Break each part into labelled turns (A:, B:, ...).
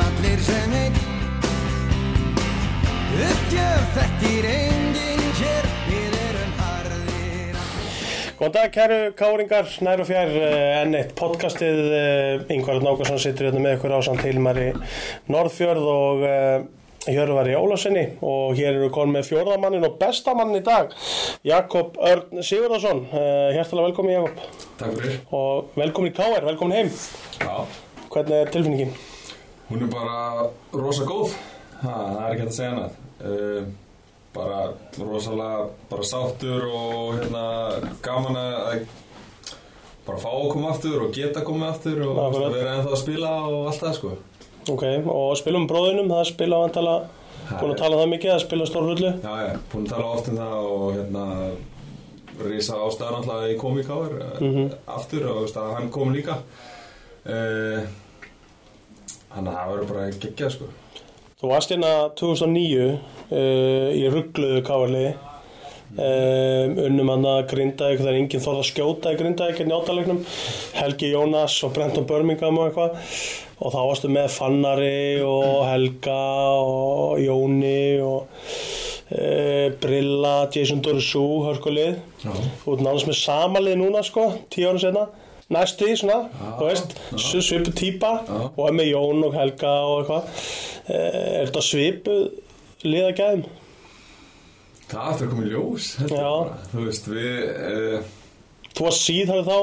A: sem einn Uppgjöf þekkir enginn hér Við erum harðir
B: Góðan dag, kæru káringar, nær og fjær, eh, enn eitt podcastið, eh, Ingvar Örn Ákarsson situr hérna með ykkur ásand Hilmari Norðfjörð og eh, Hjörvari Ólasinni og hér eru konum með fjórðamannin og bestamannin í dag, Jakob Örn Sigurðarsson, eh, hjertalega velkomin Jakob
C: Takk fyrir.
B: og velkomin í Káar, velkomin heim,
C: Já,
B: hvernig er tilfinningin?
C: hún er bara rosa góð. Ha, það er ekki hægt að segja hana. Uh, bara rosalega, bara sáttur og hérna gaman að bara fá að koma aftur og geta að koma aftur og
B: Akkurat.
C: veist, að vera ennþá að spila og allt það sko.
B: Ok, og spilum bróðinum, það spila vantala, búin að tala um það mikið, það spila stór hrullu
C: Já, já, búin að tala oft um það og hérna risa ástæðan alltaf að ég kom í káir eh, Mhm. aftur og veist, að hann kom líka. Uh, Þannig að það verður bara geggjað sko.
B: Þú varst hérna 2009 uh, í ruggluðu káarliði um, unnum hann að Grindavík það er enginn þorð að skjóta í Grindavík hérna í njátalegnum, Helgi Jónas og Brenton Birmingham og eitthvað og þá varstu með Fannari og Helga og Jóni og uh, Brilla, Jason Dorsú, hörkulið Þú ert nánast með samalið núna sko, tíu ára senna Næstu því svona, þú veist, svipu típa og er með Jón og Helga og eitthvað Eh, Er þetta svipu liðagæðum?
C: Það aftur komið ljós held ég
B: Já.
C: bara. Þú veist, við uh,
B: Þú var síðhæri þá,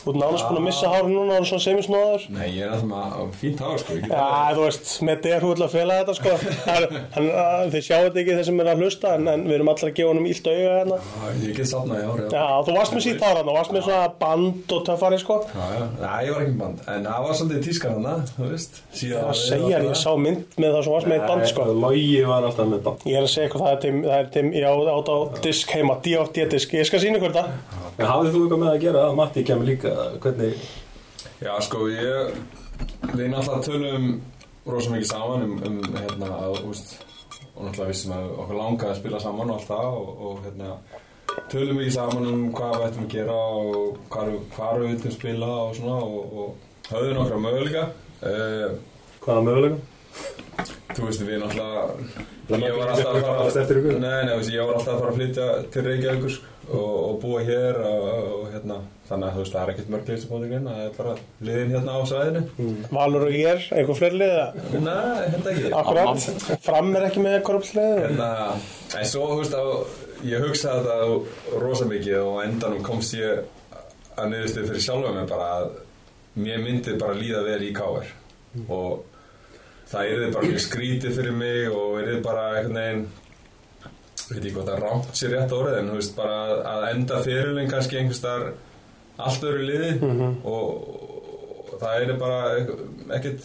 B: þú ert nánast búin að missa hárin núna og er svona semisnóður
C: Nei, ég er alltaf með fínt hár sko ég get
B: Já,
C: alveg-
B: þú veist, með þetta er húll að fela þetta sko hann, hann, eh, Þið sjáu þetta ekki þeir sem er að hlusta en, en við erum allir að gefa honum illt auga hérna
C: Já, Ég get safnað í hár, já
B: Já, þú varst með síðhæri þarna, þú varst með svona band og töffari sko
C: Já, já, Nei, ég var ekki með band En það var svolítið tískar hana, þú veist Síðan
B: Það segja, ég sá mynd með það sem varst með eitt band sko
D: Logi var alltaf með band
B: Ég er að segja eitthvað, það er til, það er til, ég á, át á disk heima, D8D-disk, ég skal sína ykkur þetta.
D: En hafðir þú eitthvað með að gera að Matti kemur líka Hvernig,
C: Já, sko, ég Við náttúrulega tölum rosa mikið saman um, um hérna, að, þú veist Og náttúrulega vissum að okkur langaði að spila saman og allt það Og, og hérna Tölum mikið saman um hvað við ættum að gera og hvar, hvar við ættum að spila og svona og, og höfðum nokkra möguleika uh,
D: hvaða möguleikum?
C: Þú veist, við náttúrulega
D: Það
C: Ég var
D: mætti
C: alltaf að
D: ekki fara
C: fara
D: eftir ykkur.
C: Nei, nei, þú veist, ég var alltaf að fara að flytja til Reykjavíkur sko, og, og búa hér og, og hérna Þannig að þú veist, það er ekkert mörg lýst að bóta greina Það er bara liðin hérna á sæðinu
D: Mm.
B: Valur og ég, einhver fleiri liða,
C: Nei, hérna ekki
B: akkurat, fram er ekki með korpsliðið.
C: Hérna, en svo, þú veist, að, ég hugsaði þetta rosa mikið og á endanum komst ég að niðurstu fyrir sjálfa mig bara að mér myndi bara líða vel í káir og það yrði bara mjög skrítið fyrir mig og yrði bara einhvern veginn ég veit ekki hvað það rámt sér rétt orðið en þú veist bara að- að enda fyrirlin kannski einhvers þar allt öru liði og, og það er bara ekk- ekkert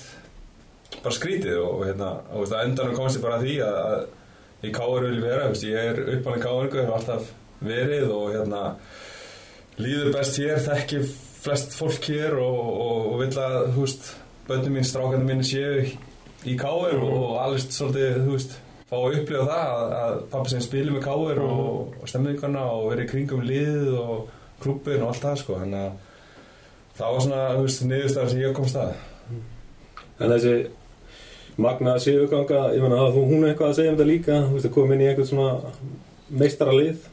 C: bara skrítið og, og hérna og þú veist að endanum komst ég bara að því að, að ég káur vil vera, þú veist ég er uppalinn káur og hef alltaf verið og hérna líður best hér, þekki flest fólk hér og, og, og vil að þú veist bönnum mín, strákarnir mín séu í káur og alveg svolítið þú veist fá að upplifa það að, að pappi sem spilir með káur og, og stemmingarna og verið í kringum lið og klubbin og allt það sko þannig að það var svona þú veist niðurstaðan sem ég komst að
D: En þessi magnaða sigurganga Ég meina, hafði þú- hún eitthvað að segja um þetta líka Þú veist að koma inn í eitthvað svona meistara lið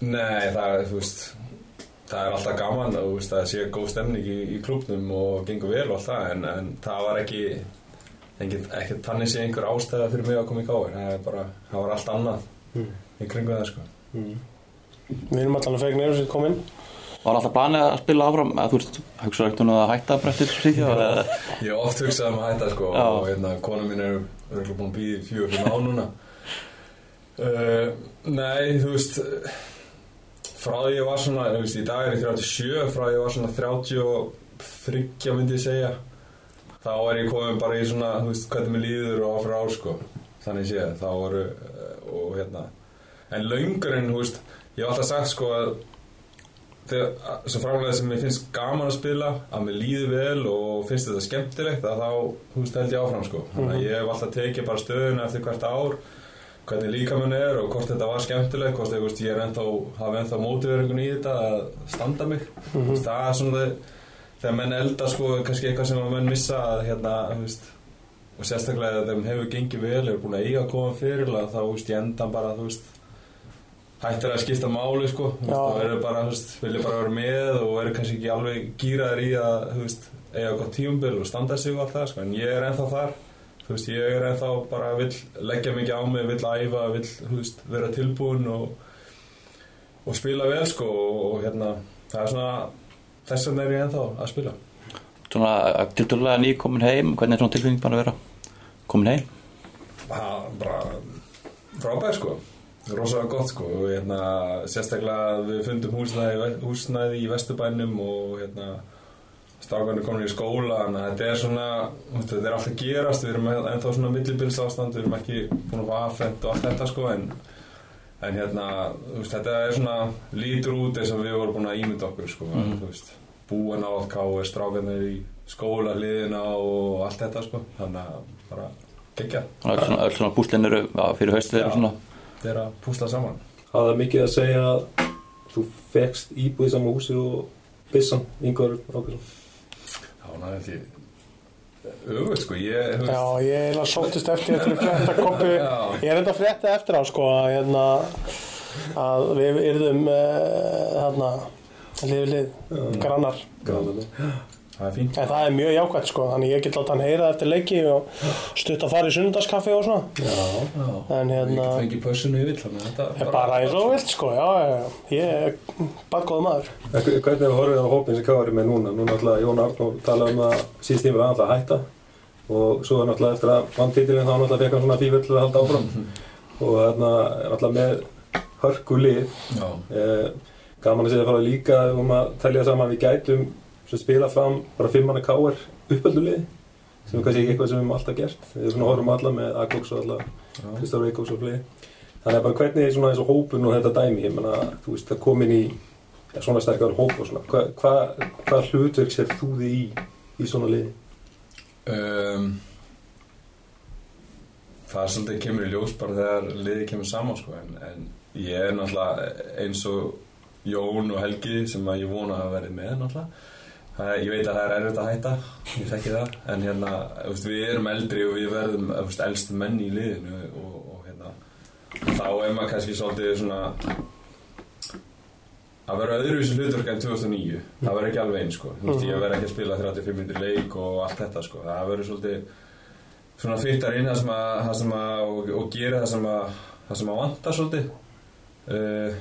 C: Nei, það er, þú veist það er alltaf gaman að, þú veist, að sé góð stemning í, í klubnum og gengur vel og allt það en, en það var ekki engin, ekki þannig sé einhver ástæða fyrir mig að koma í gáir það, er bara, það var allt annað í kringu það sko
B: Við erum allan að fegnir eins og þetta kominn.
E: Var alltaf planið að spila áfram að þú veist, hugsaðu ekkert um að hætta bara eftir síðan eða
C: Ég hef oft hugsað um að hætta sko
E: Já.
C: og hérna, konu mín er röglega búin að býði fjögur fyrir ár núna uh, Nei, þú veist frá því ég var svona, þú veist, í dag er ég 37 frá því ég var svona 33 myndi ég segja þá er ég komin bara í svona, þú veist, hvernig mér líður og áfra ár sko þannig séð, þá voru uh, og hérna en löngurinn, þú veist, ég hef alltaf sagt sko að þegar, svo framlega sem mér finnst gaman að spila að mér líði vel og finnst þetta skemmtilegt að þá, þú veist, held ég áfram sko. þannig að ég hef alltaf tekið bara stöðuna eftir hvert ár hvernig líkaminn er og hvort þetta var skemmtilegt hvort þú veist, ég er ennþá, hafi ennþá mótiveringun í þetta að standa mig mm -hmm. það er svona þegar þegar menn elda sko, kannski eitthvað sem að menn missa að hérna, þú veist og sérstaklega þegar þeim hefur gengið vel hefur búin að eiga að koma fyrir þá þú veist, ég endan bara þú veist, hættir að skipta máli sko, þú veist,
B: Já.
C: þá eru bara, þú veist, vilja bara vera með og eru kannski ekki alveg gýraðir í að þú veist, eiga gott tíumbil og standa sig og allt það sko, en ég er ennþá þar þú veist, ég er ennþá bara vill leggja mikið á mig, vill æfa, vill þú veist, vera tilbúin og, og spila vel sko og, og hérna, það er svona þess vegna er ég ennþá að spila
E: Svona tildulega ný komin heim, hvernig er svona tilfinning bara að vera komin heim?
C: Það er bara frábær sko rosalega gott sko og hérna, sérstaklega við fundum húsnæði, húsnæði í Vesturbænum og hérna strákarnir komin í skóla þannig að þetta er svona, þú veist, þetta er allt að gerast við erum ennþá svona millibils ástand við erum ekki búin að fá aðfend og allt þetta sko en, en hérna þú veist, þetta er svona lítur út eins og við vorum búin að ímynda okkur sko mm. veist, búin á allt káu, strákarnir í skóla liðina og allt þetta sko þannig að bara gegja
E: Svona öll svona, öll svona búslinn eru já, fyrir haustið
C: Já.
E: eru svona
C: Þeir að púsla saman
D: Hafði það mikið að segja að þú fekst íbúð í sama húsi og byssan, yngvar ákveðsum.
C: Já, það er ekki Öfugt sko, ég þú
B: Já,
C: veist,
B: ég er að sóttist eftir eftir að frétta koppi
C: Já.
B: Ég er enda að frétta eftir á sko að, hérna, að við yrðum uh, hérna hlið við hlið, grannar
D: Gráðan þetta.
C: það er fínt
B: En það er mjög jákvæmt sko, þannig ég get láta hann heyra eftir leiki og stutt að fara í sunnudagskaffi og svona
D: Já,
B: En
C: Ég
B: hérna,
C: get fengið pössunu yfir þannig að þetta
B: er bara eins og þú vilt sko, já, já, já Ég er bara góð maður
D: En hver- hvernig hefur horfið á hópin sem Kári er með núna? Núna náttúrulega Jón Arnór talaði um að síðst tíma var alltaf að hætta og svo er náttúrulega eftir að vann titilinn þá náttúrulega fekk hann svona fývöld til að halda áfram og þarna er náttúrulega með hörku lið
C: Já,
D: eh, gaman að segja að fara líka um að telja saman við gætum sem spila fram bara fimmanna Kári uppöldulið sem er kannski ekki eitthvað sem við höfum alltaf gert við svona horfum alla með Agox og alla
C: já,
D: Kristóf Reykjavík og fleiri þannig að bara hvernig er svona eins og hópun og þetta dæmi ég menna, þú veist, það komin í ja, svona sterkar hóp og svona hvað hva, hva hlutverk sér þú þið í í svona liði?
C: um, Það er svolítið kemur í ljós bara þegar liðið kemur saman sko en, en ég er náttúrulega eins og Jón og Helgi sem að ég vona að hafa verið með náttúrulega Það, er- ég veit að það er erfitt að hætta, ég þekki það, en hérna, þú veist, við erum eldri og við verðum þú veist, elstu menn í liðinu og, og hérna, þá er maður kannski svolítið svona að vera öðruvísi hlutverk en 2009 það verður ekki alveg eins sko Þú veist, ég verð ekki að spila 35 minnir leik og allt þetta sko það verður svolítið svona fyrtar inn það sem að, það sem að og, og gera það sem að, það sem að vanta svolítið uh,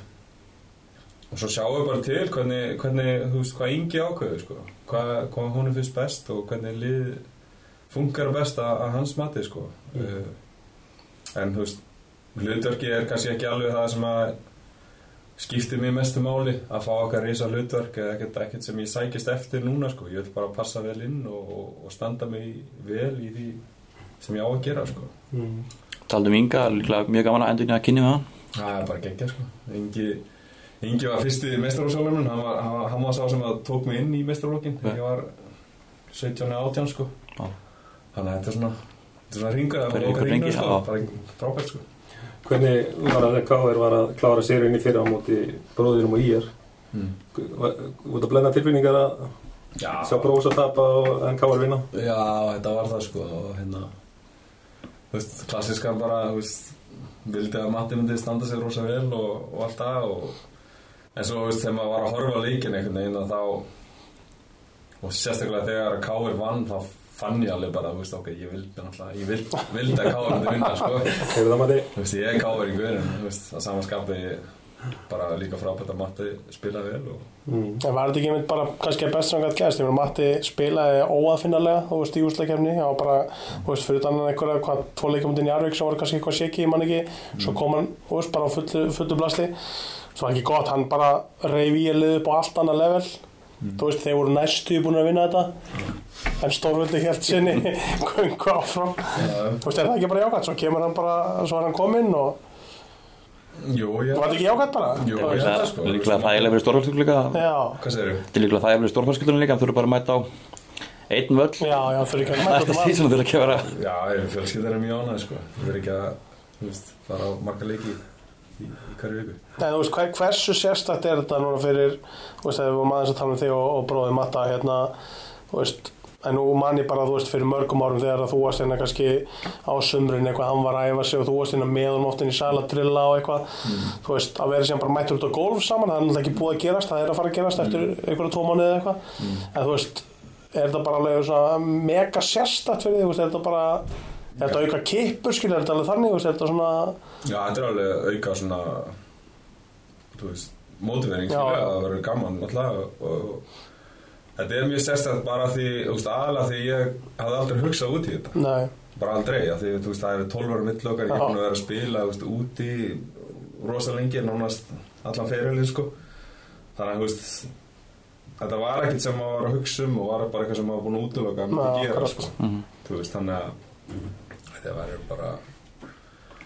C: og svo sjáum við bara til hvernig, hvernig þú veist, hvað yngi ákveður sko hvað, hvað hún er fyrst best og hvernig lið funkar best að, að hans mati sko uh, en þú veist hlutverki er kannski ekki alveg það sem að skiptir mér mestu máli að fá okkar reysa hlutverk eða ekkert, ekkert sem ég sækist eftir núna sko. ég vil bara passa vel inn og, og, og standa mig vel í því sem ég á að gera sko.
D: Mm.
E: Taldum um Inga, líklega mjög gaman að endur nýja að kynni með hann
C: það er bara geggja sko. Ingi, Ingi var fyrsti mestarósáluminn hann, var- hann, var- hann var sá sem að tók mig inn í mestarólokin
E: Já.
C: ég var 17 eða 18 sko.
E: Já.
C: þannig að þetta er svona þetta er svona ringur
E: Bara
C: að
E: ykkur
C: okkar ringur
E: hringi,
C: sko.
E: já.
C: bara frábært sko.
D: Hvernig var að K.R. var að klára sérunni fyrir á móti bróðurum og ír
C: mm.
D: út að blenda tilfinningar að
C: já,
D: sjá bróðs að tapa og en K.R. vinna?
C: Já, þetta var það sko og hérna þú veist, klassíska bara þú veist, vildi að Matti myndi standa sér rosa vel og, og allt það og, en svo þú veist, þegar maður var að horfa á leikin einhvern veginn að þá og sérstaklega þegar Káir vann þá fann ég alveg bara, þú veist, ok, ég vildi náttúrulega, ég vildi, vildi að Káir myndi vinna sko,
D: Hefur það mati?
C: þú veist, ég er Káir í guðin þú veist, að samanskapi bara líka frábært að Matti spila vel og
D: Mm.
B: En var þetta ekki einmitt bara kannski að best sem hann gætt gæst? Ég meina, Matti spilaði óaðfinnarlega, þú veist, í úsleikefni. Það var bara, þú veist, fyrir utan hann einhverja, hvað, tvo leikamundin í Arvík sem voru kannski eitthvað séki, ég man ekki. Svo kom hann, þú veist, bara á fullu, fullu blasti. Svo var ekki gott, hann bara reyf í að liða upp á allt annað level. Þú veist, þeir voru næstu búin að vinna þetta. En Stórvöldi held sinni göngu áfram.
C: uh,
B: Þú veist, er það ekki bara jákvæmt? Svo kemur hann bara, svo er hann kominn og...
C: Jú, ég
B: Var þetta ekki jákvæmt bara?
C: Jú, ég held
E: Líklega
C: það sko þú
E: líklega
C: veist,
E: þægilega fyrir stórfólkskjöld líka
B: Já.
C: Hvað segirðu?
E: Þetta er líklega þægilega fyrir stórfólkskjöldunum líka, hann þurfa bara að mæta á einn völl
B: Já, já, þurfi ekki að mæta út
E: Næsta
B: um allt.
E: síðan þurfa ekki að vera
C: Já, ég fjölskyldar er mjög ánægð sko Við erum ekki að, þú veist, fara á marga leiki í, í hverju viku
B: Nei, þú veist, hver, hversu sérstakt er þetta núna fyrir, þú veist, ef við varum aðeins að tala um þig og, og bróðið Matta, hérna, þú veist, en nú man ég bara, þú veist, fyrir mörgum árum þegar að þú varst hérna kannski á sumrin eitthvað, hann var að æfa sig og þú varst hérna með hann oftin í saladrilla og eitthvað þú veist, að vera sem bara mættur út á golf saman það er náttúrulega ekki búið að gerast, það er að fara að gerast eftir einhverja tvo mánuði eða eitthvað en þú veist, er þetta bara alveg svona mega sérstætt fyrir því, þú veist, er þetta bara er þetta auka kippur, skilur, er þetta alveg þannig þú veist, er þetta svona,
C: Já, þetta er alveg auka svona þú veist, mótivering
B: Já.
C: skilja, það verður gaman alltaf og, og þetta er mjög sérstætt bara því, þú veist, aðalega því ég hafði aldrei hugsað út í þetta
B: nei,
C: bara aldrei, af því þú veist, það eru 12 ára mittl okkar, ég er
B: Já.
C: búin að vera að spila þú veist, úti rosa lengi, nánast allan fyrirlið, sko þannig að, þú veist þetta var ekkert sem maður var að hugsa um og var bara eitthvað sem maður var búin að útlöka að
B: Nei,
C: gera,
B: akkurat.
C: sko þú veist, þannig að þetta verður bara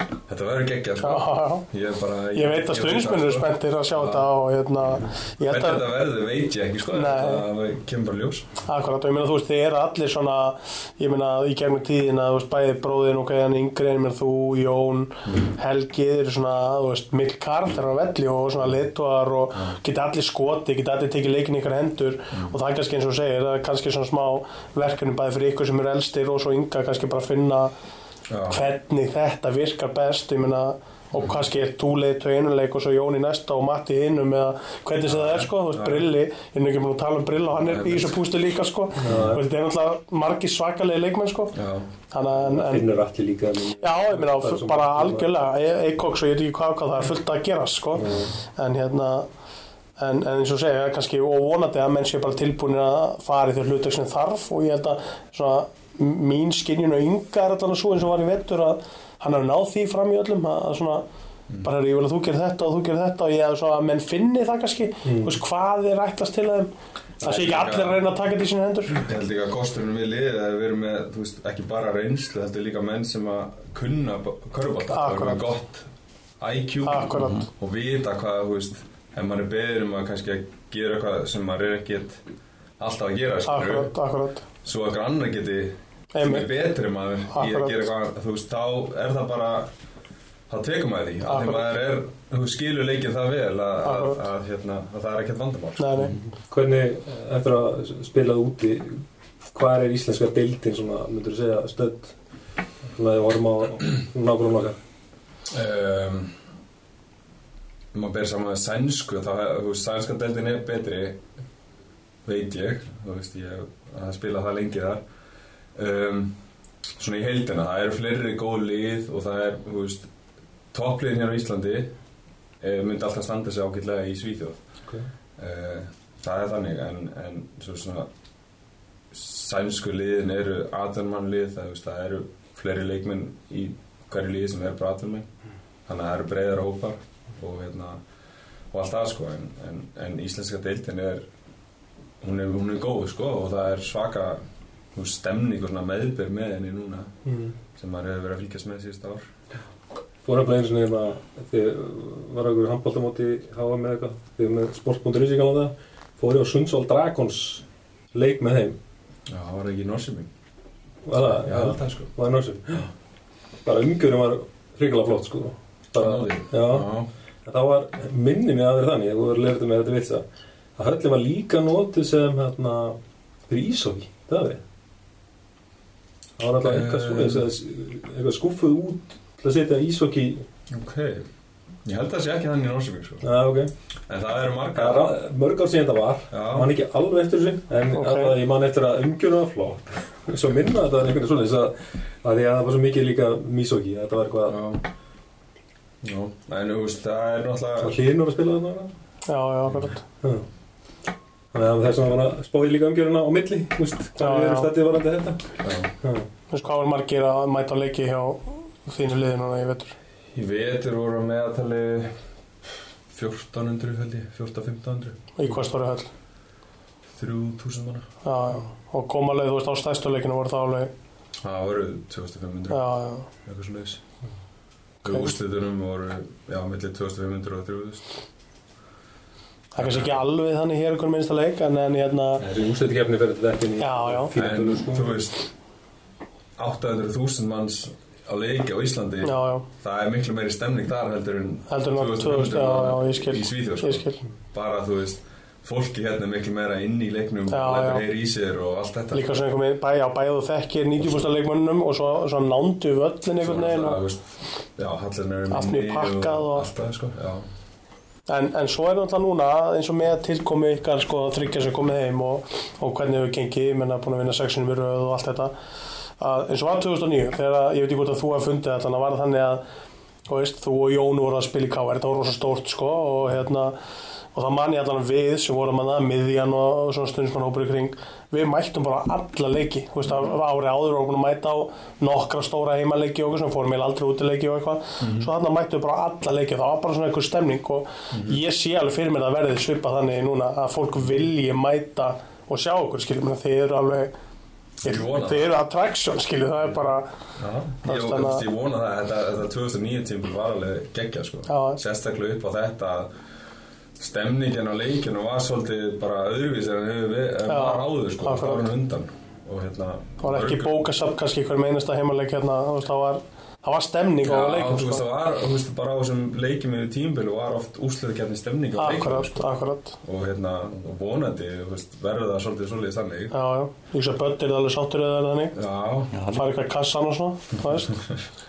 C: þetta verður geggjað,
B: já,
C: sko
B: já, já
C: Ég, er bara,
B: Ég veit sko. að stuðnismennir eru spenntir að sjá þetta og hérna, ég
C: Hvernig
B: held að
C: þetta verður veit ég ekki sko
B: Nei.
C: Það kemur bara ljós
B: Akkurat, og ég meina þú veist, þið eru allir svona, ég meina í gegnum tíðina, þú veist, bæði bróðin og gæðan yngri en mér þú, Jón, Helgi, þeir eru svona, þú veist, mill karakterar á velli og svona leituar og geta allir skoti, geta allir tekið leikin í ykkar hendur og það er kannski eins og þú segir, það er kannski svona smá verkefni bæði fyrir ykkur sem eru elstir og svo ynga kannski bara að finna
C: Já,
B: hvernig þetta virkar best ég meina, og kannski er þú leitt og einuleik og svo Jón í næsta og Matti í hinum eða hvernig sem það er sko, þú veist,
C: Já.
B: Brilli ég er nú ekki búin að tala um Brilli og hann er í þessu pústu líka sko, og þetta er náttúrulega margi svakalegi leikmenn sko
C: já,
B: þannig að, en,
D: Finnur allir líka en-
B: já, ég meina,
D: Það er svo
B: bara
D: margt.
B: algjörlega Eikoks og ég veit ekki hvað, hvað það er fullt að gera sko, en hérna En, en eins og segja, kannski og vonandi að menn sé bara tilbúin að fara í þau hlutverk sem þarf og ég held að svona, m- mín skinjun og ynga er allan svo eins og var í vettur að hann hefur náð því fram í öllum að, að svona, bara er ég vil að þú gerir þetta og þú gerir þetta og ég hef svona að menn finni það kannski, þú veist hvað er ætlast til þeim það sé ekki allir að reyna að taka þetta í sína hendur
C: ég held líka að kosturinn við liðið að við erum með, þú veist, ekki bara reynslu Þetta er líka menn sem að kunna körubálta Það er
B: Akkurat.
C: með gott IQ
B: Akkurat.
C: Og vita hvað, þú veist Ef maður er beður um að kannski að gera eitthvað sem maður er ekkert alltaf að gera skilurðu.
B: akkurat, akkurat
C: Svo að grannar geti sem er
B: Einmitt.
C: betri maður í að
B: Akkurat.
C: gera eitthvað þú veist, þá er það bara þá tekur maður því, af því
B: Akkurat.
C: maður er þú skilur leikið það vel að, að,
B: Akkurat.
C: að, hérna, að það er ekkert vandamál
B: Nei, nei.
D: Hvernig, eftir að spilað úti, hvað er íslenska deildin svona, myndur þú segja, stödd? Svona þið vorum á nágrunum okkar.
C: um, ef maður ber saman með sænsku þá, þú veist, sænskan deildin er betri veit ég þú veist, ég að spila það lengi þar um, svona í heildina það eru fleiri góð lið og það er, þú veist toppliðin hér á Íslandi eh, myndi alltaf standa sig ágætlega í Svíþjóð
D: Okay.
C: Eh, það er þannig en, en svo svona sænsku liðin eru 18 mann lið það, þú veist, það eru fleiri leikmenn í hverju liði sem er bara 18 menn þannig að það eru breiðar hópar og, hérna, og allt það sko en, en, en íslenska deildin er hún er, hún er góð sko og það er svaka þú veist, stemning og svona meðbyr með henni núna
D: Mm.
C: sem maður hefur verið að fylgjast með síðust ár
D: Fórum bara einu svona hérna, þið var okkur handbóltamóti í HM eða eitthvað, þið erum með sport.risík á það, fórum á Sundsvall Dragons leik með þeim.
C: Já, það var ekki í Norsjöming
D: Var það?
C: Já, það sko
D: Var það náttúrulega? Bara umgjörðum var hrikalega flott, sko. Bara,
C: Náði.
D: já.
C: Já,
D: Það var minni mig að vera þannig, ég voru lefðið með þetta vitsa að höllin var líka notuð sem hérna, fyrir ísóki, það við Það var alltaf eitthvað,
C: Eh.
D: svoleiðis að- eitthvað skúffuð út til að setja ísóki
C: ok Ég held að það sé ekki þannig í Norsjöming sko
D: Já, ok
C: En það eru
D: Það
C: margar
D: var mörg ár síðan það var
C: Já.
D: Ég man ekki alveg eftir þessu en
B: Ok.
D: okay. ég man eftir að umgjörna var flott svo minna þetta var einhvern veginn svona að því að það var svo mikið líka mísóki þetta var eitthvað
C: Já Já, en þú veist, það er
D: svo
C: náttúrulega
D: hlýðin voru að spila þarna
B: já, já, akkurat
D: Já. Þannig að þess að maður var að spáði líka umgjöruna á milli, þú veist, hvað
B: Já,
D: við erum
B: já.
D: stættið varandi þetta.
C: já.
D: Já.
B: Þú veist hvað var margir að mæta á leiki hjá þínu liði núna í vetur?
C: Í vetur voru að meðatali 1400 held ég, 1400-1500
B: Í hvað stóri höll?
C: 3000 manna
B: Já, já. Og koma leið, þú veist, á stæstu leikinu voru það alveg.
C: Það voru 2500,
B: Já, já.
C: eitthvað svona þess
B: Ok.
C: okay. Úslitunum voru, já, millir 2500 og 3000
B: Það er kannski ekki alveg þannig hér einhvern minnsta leik, en, en hérna,
D: Þessi úrstöðkefni fyrir þetta ekki inn í
B: já, já.
C: En
D: 400
C: þú
D: sko.
C: veist, 800.000 manns á leiki á Íslandi
B: Já, já.
C: Það er miklu meiri stemning þar heldur en
B: Heldur en
C: 2500
B: 2000, já, já, ég skil.
C: í Svíþjóð sko.
B: Ég skil.
C: bara þú veist fólki hérna er miklu meira inn í leiknum
B: Já,
C: og
B: já.
C: lætur heyri í sér og allt þetta
B: Líka svona einhver með bæ, já, bæðu þekkir 90% leikmönnum og svo, svo nándu völlin einhvern veginn
C: og
B: og,
C: Já, hallin er
B: Allt mjög pakkað og-
C: allt það sko Já,
B: en, en svo er náttúrulega núna eins og með tilkomi ykkar sko þryggja sem komið heim og, og hvernig hefur gengið, ég menna búin að vinna sexinum í röð og allt þetta að, eins og var 2009, þegar að, ég veit ekki hvort að þú hafði fundið þetta, þannig að var það þannig að þú veist, þú og Jón voru að spila í KR þetta var rosa stórt sko og hérna og það man ég allan við sem vorum að miðjan og og svona stundismann hópur í kring við mættum bara alla leiki þú veist, af- af ári áður vorum búin að mæta á nokkra stóra heimaleiki og eitthvað sem fórum eða aldrei útileiki og eitthvað, svo þarna mættum við bara alla leiki og það var bara svona einhver stemning og ég sé alveg fyrir mér að verði svipað þannig núna að fólk vilji mæta og sjá okkur, skiljum, þið eru alveg
C: Ég vona
B: þið eru attraction, skiljum, það er bara
C: já.
B: Það
C: Ég,
B: stanna-
C: ég, ég vona það, þetta, þetta 2009 tímpil var alveg geggja sko
B: Já.
C: Sérstaklega upp á þetta að stemningin á leikinu var svolítið bara öðruvísir en hefur við en
B: Já,
C: var áður sko, það
B: akkurat.
C: var hann undan og hérna
B: Það var ekki
C: örgu-
B: bókasafn kannski hver meinasta heimaleik hérna, þú veist, það var, það var stemning á
C: Já,
B: leikum,
C: þú veist,
B: sko.
C: það var, þú veist, bara á þessum leikjum yfir tímbilu var oft úsleðgjarni stemning á leikjum
B: Akkurat, akkurat,
C: og hérna, og vonandi, þú veist, verður það svolítið svolítið þannig.
B: já, já. Ég veist að börn er alveg sáttur eða það er þannig,
C: Já,
B: fara eitthvað í kassan og svona, þú veist.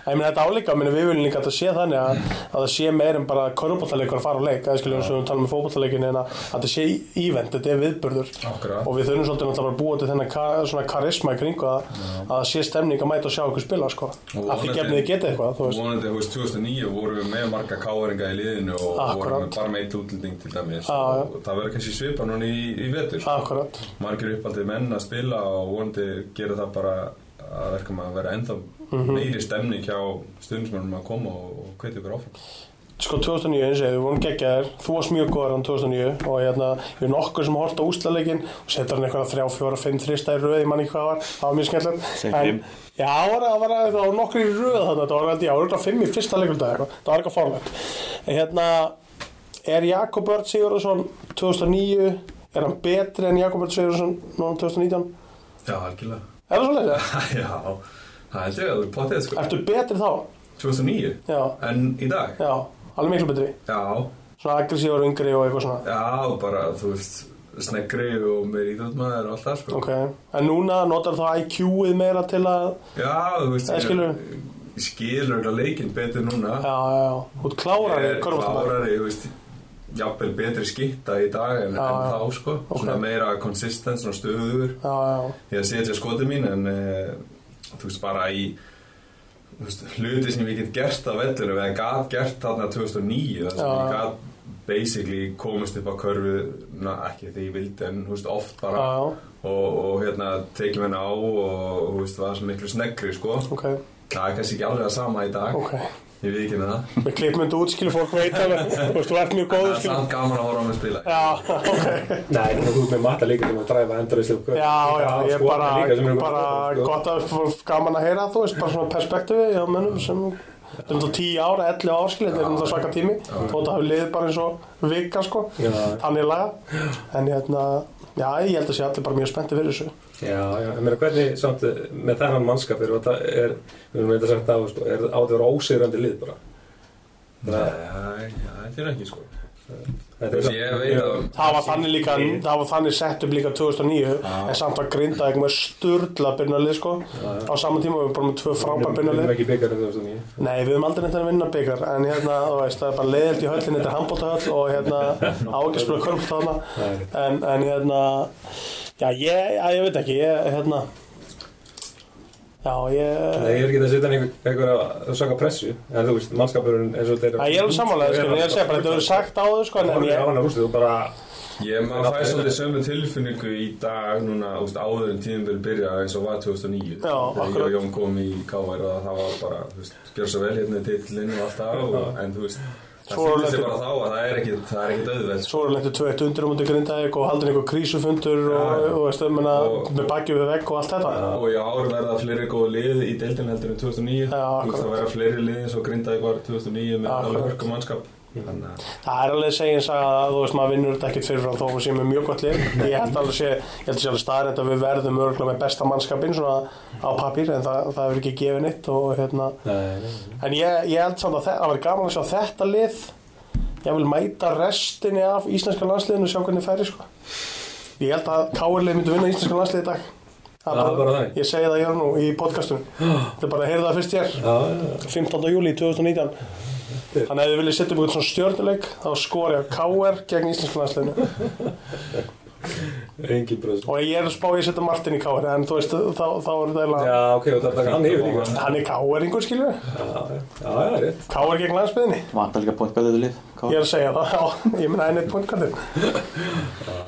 B: En ég meina þetta álíka, meni, við viljum líka að þetta sé þannig að, að það sé meir en bara körubóttaleikur að fara á leik, eða skiljum eins og við talum um fótbóttaleikin, en að, að þetta sé ívent, þetta er viðburður.
C: Akkurat.
B: Og við þurfum svolítið náttúrulega bara að búa til þennan ka, svona karisma í kringu að, að það sé stemning að mæta og sjá okkur spila, sko.
C: Og
B: Að því
C: vonandi-
B: gefnið þið getið eitthvað, þú veist.
C: vonandi, þú veist, 2009 vorum við með marga káringa í liðinu og
B: Akkurat.
C: vorum við bara með eitt útlending til dæmis
B: Já, já.
C: og það verður kannski svipa núna í, í vetur.
B: Akkurat.
C: Margir uppaldið menn að spila og vonandi gera það bara að verka maður að vera ennþá
B: Mhm.
C: meiri stemning hjá stundismennum að koma og, og hvetja ykkur áfram.
B: Sko 2009 eins og ég, við vorum geggjaðir Þú varst mjög góður hann 2009 og hérna, við erum okkur sem horft á úslaleikin og setur hann eitthvað 3, 4, 5, 3 stæði röð ég man ekki hvað það var, það var mjög
E: Sem
B: skemmtilegt
E: fimm.
B: En- Já, það var, það var, það var nokkur í röð þannig þetta var held ég, það var eitthvað 5 í fyrsta leikuldag eitthvað. það var eitthvað forlægt En hérna, er Jakob Örd Sigurðarsson 2009 er hann betri en Jakob Örd Sigurðarsson núna 2019?
C: Já, algjörlega.
B: Er það svolítið?
C: Já, það held ég að þú pottið sko.
B: Ertu betri þá?
C: 2009
B: Já,
C: en í dag
B: já, alveg miklu betri
C: já,
B: Svona aggressívar yngri og eitthvað svona
C: já bara þú veist sneggri og meir íþjóðmaður og allt það sko
B: Ok, en núna notar það IQ-ið meira til að
C: já, þú veist
B: Ég skilur.
C: ég skilur þetta leikinn betur núna
B: Já, já, já, út klárari
C: Ég er
B: körfaldamaður
C: klárari, þú veist jafnvel betri skitta í dag en,
B: Já,
C: en
B: já.
C: þá sko
B: Ok.
C: svona meira konsistens, svona stöður
B: Já, já,
C: ég setja skotið mín en uh, þú veist bara í þú veist, hluti sem ég get gert á vellinu eða gat gert þarna 2009 þar sem
B: Já.
C: ég gat basically komist upp á körfu na, ekki því ég vildi en þú veist, oft
B: já,
C: bara
B: já,
C: og, og hérna tekið henni á og þú veist, var svo miklu sneggri sko.
B: ok,
C: það er kannski ekki alveg að sama í dag
B: ok
C: ég veit ekki með það
B: Við klippum þetta út, skilur fólk veit alveg Þú veist, þú ert mjög
C: það
B: góður,
C: er
B: skilur
C: samt gaman að horfa á mig spila
B: Já, ok,
D: Nei, þú ert með matta líka til að dræfa sko. endurist
B: já, já, ég er bara, bara
D: sko.
B: gott að fólk gaman að heyra, þú veist, bara svona perspektífi hjá mönnum sem Þetta er náttúrulega 10 ára, 11 ára, skilur, þetta er náttúrulega svaka tími Þótt að hafi liðið bara eins og vika, sko,
D: Já.
B: þannig laga En hérna, já, ég held að sé allir bara mjög spennti fyrir þessu
D: Já, já, ég meina hvernig samt eh, með þennan mannskap er þetta, er, við erum eitthvað sagt á, sko, er þetta áður ósýrandi lið bara?
C: Nei, það er ekki sko
D: Þetta
C: Þú veist, ég veit að
B: Það var þannig líka, það var þannig sett upp líka 2009 en samt að grinda eitthvað sturla byrnalið sko á saman tíma við erum bara með tvö frábær
D: Við erum
B: byrnalið
D: ekki byggarið 2009.
B: Nei, við höfum aldrei neitt að vinna byggar en hérna, þú veist, það er bara leiðilt í höllin þetta er handbóltahöll og hérna ágæsblöð körpta þarna en, en hérna, já ég, já, ég veit ekki, ég, hérna Já,
D: Nei,
B: ég
D: ég er ekki að setja hann einhver- einhver að söka pressu, en þú veist, mannskapurinn eins og þeir
B: Já, ég er alveg samanlega, sko, en ég er að segja bara, þetta verður sagt á þau, sko, en- en
D: Ég er
B: ég,
D: alveg að rústu, þú bara,
C: Ég maður fæ svolítið sömu tilfinningu í dag núna, úst, áður en tíðinbili byrja eins og var 2009
B: Já,
C: Þegar ég
B: akkurat.
C: og Jón kom í KR og það var bara, þú veist, gjör svo vel hérna í titlinu og allt það og, en þú veist, það
B: Svo
C: sýndi
B: lendir-
C: sig bara þá að það er ekkit, það er sko. ekkit auðveld
B: Svo eru lendið 2-1 undir á mútið Grindavík og haldin einhver krísufundur og,
C: Já, já.
B: og veist, menna,
C: Og-
B: með bakið við vegg og allt þetta.
C: og í ár verða fleiri góð lið í deildin heldur en
B: Já,
C: 2009 Þú veist,
B: akkurat.
C: það verða fleiri lið eins og grindaði var 2009 með
B: Já,
C: alveg
B: akkurat.
C: hörku mannskap þannig að
B: Það er alveg segjins að þú veist maður vinnur þetta ekkert fyrirfram þó að við séum með mjög gott lið. Ég held alveg sé, ég held að sé alveg staðrænt að við verðum örgulega með besta mannskapinn svona á papír en það, það hefur ekki gefið neitt og hérna.
D: nei, nei,
B: En ég, ég held samt að þe- það væri gaman að sjá þetta lið ég vil mæta restinni af íslenska landsliðinu og sjá hvernig færi sko. ég held að KL-ið myndi vinna íslenska landsliði í dag
D: Það er bara þannig.
B: ég segi það hér nú í podcastunum þetta er bara að heyra það fyrst hér
D: Já, já, já.
B: 15. júli 2019 Þannig að ef þið viljið setja upp eitthvað svona stjörnuleik þá skori ég á KR gegn íslenska landsliðinu
D: Engin bröðs.
B: og ég er að spá ég að setja Martin í KR en þú veist þá, þá er þetta eiginlega
D: Já, ok, og það er hann yfir líka.
B: hann er KR-ingur skilur
D: Já, já, já, já, rétt.
B: KR gegn landsbyðinni
E: Vantar líka pointgæðið lið
B: Ég
E: Káar.
B: er að segja það, já, ég minna einnig pointkartinn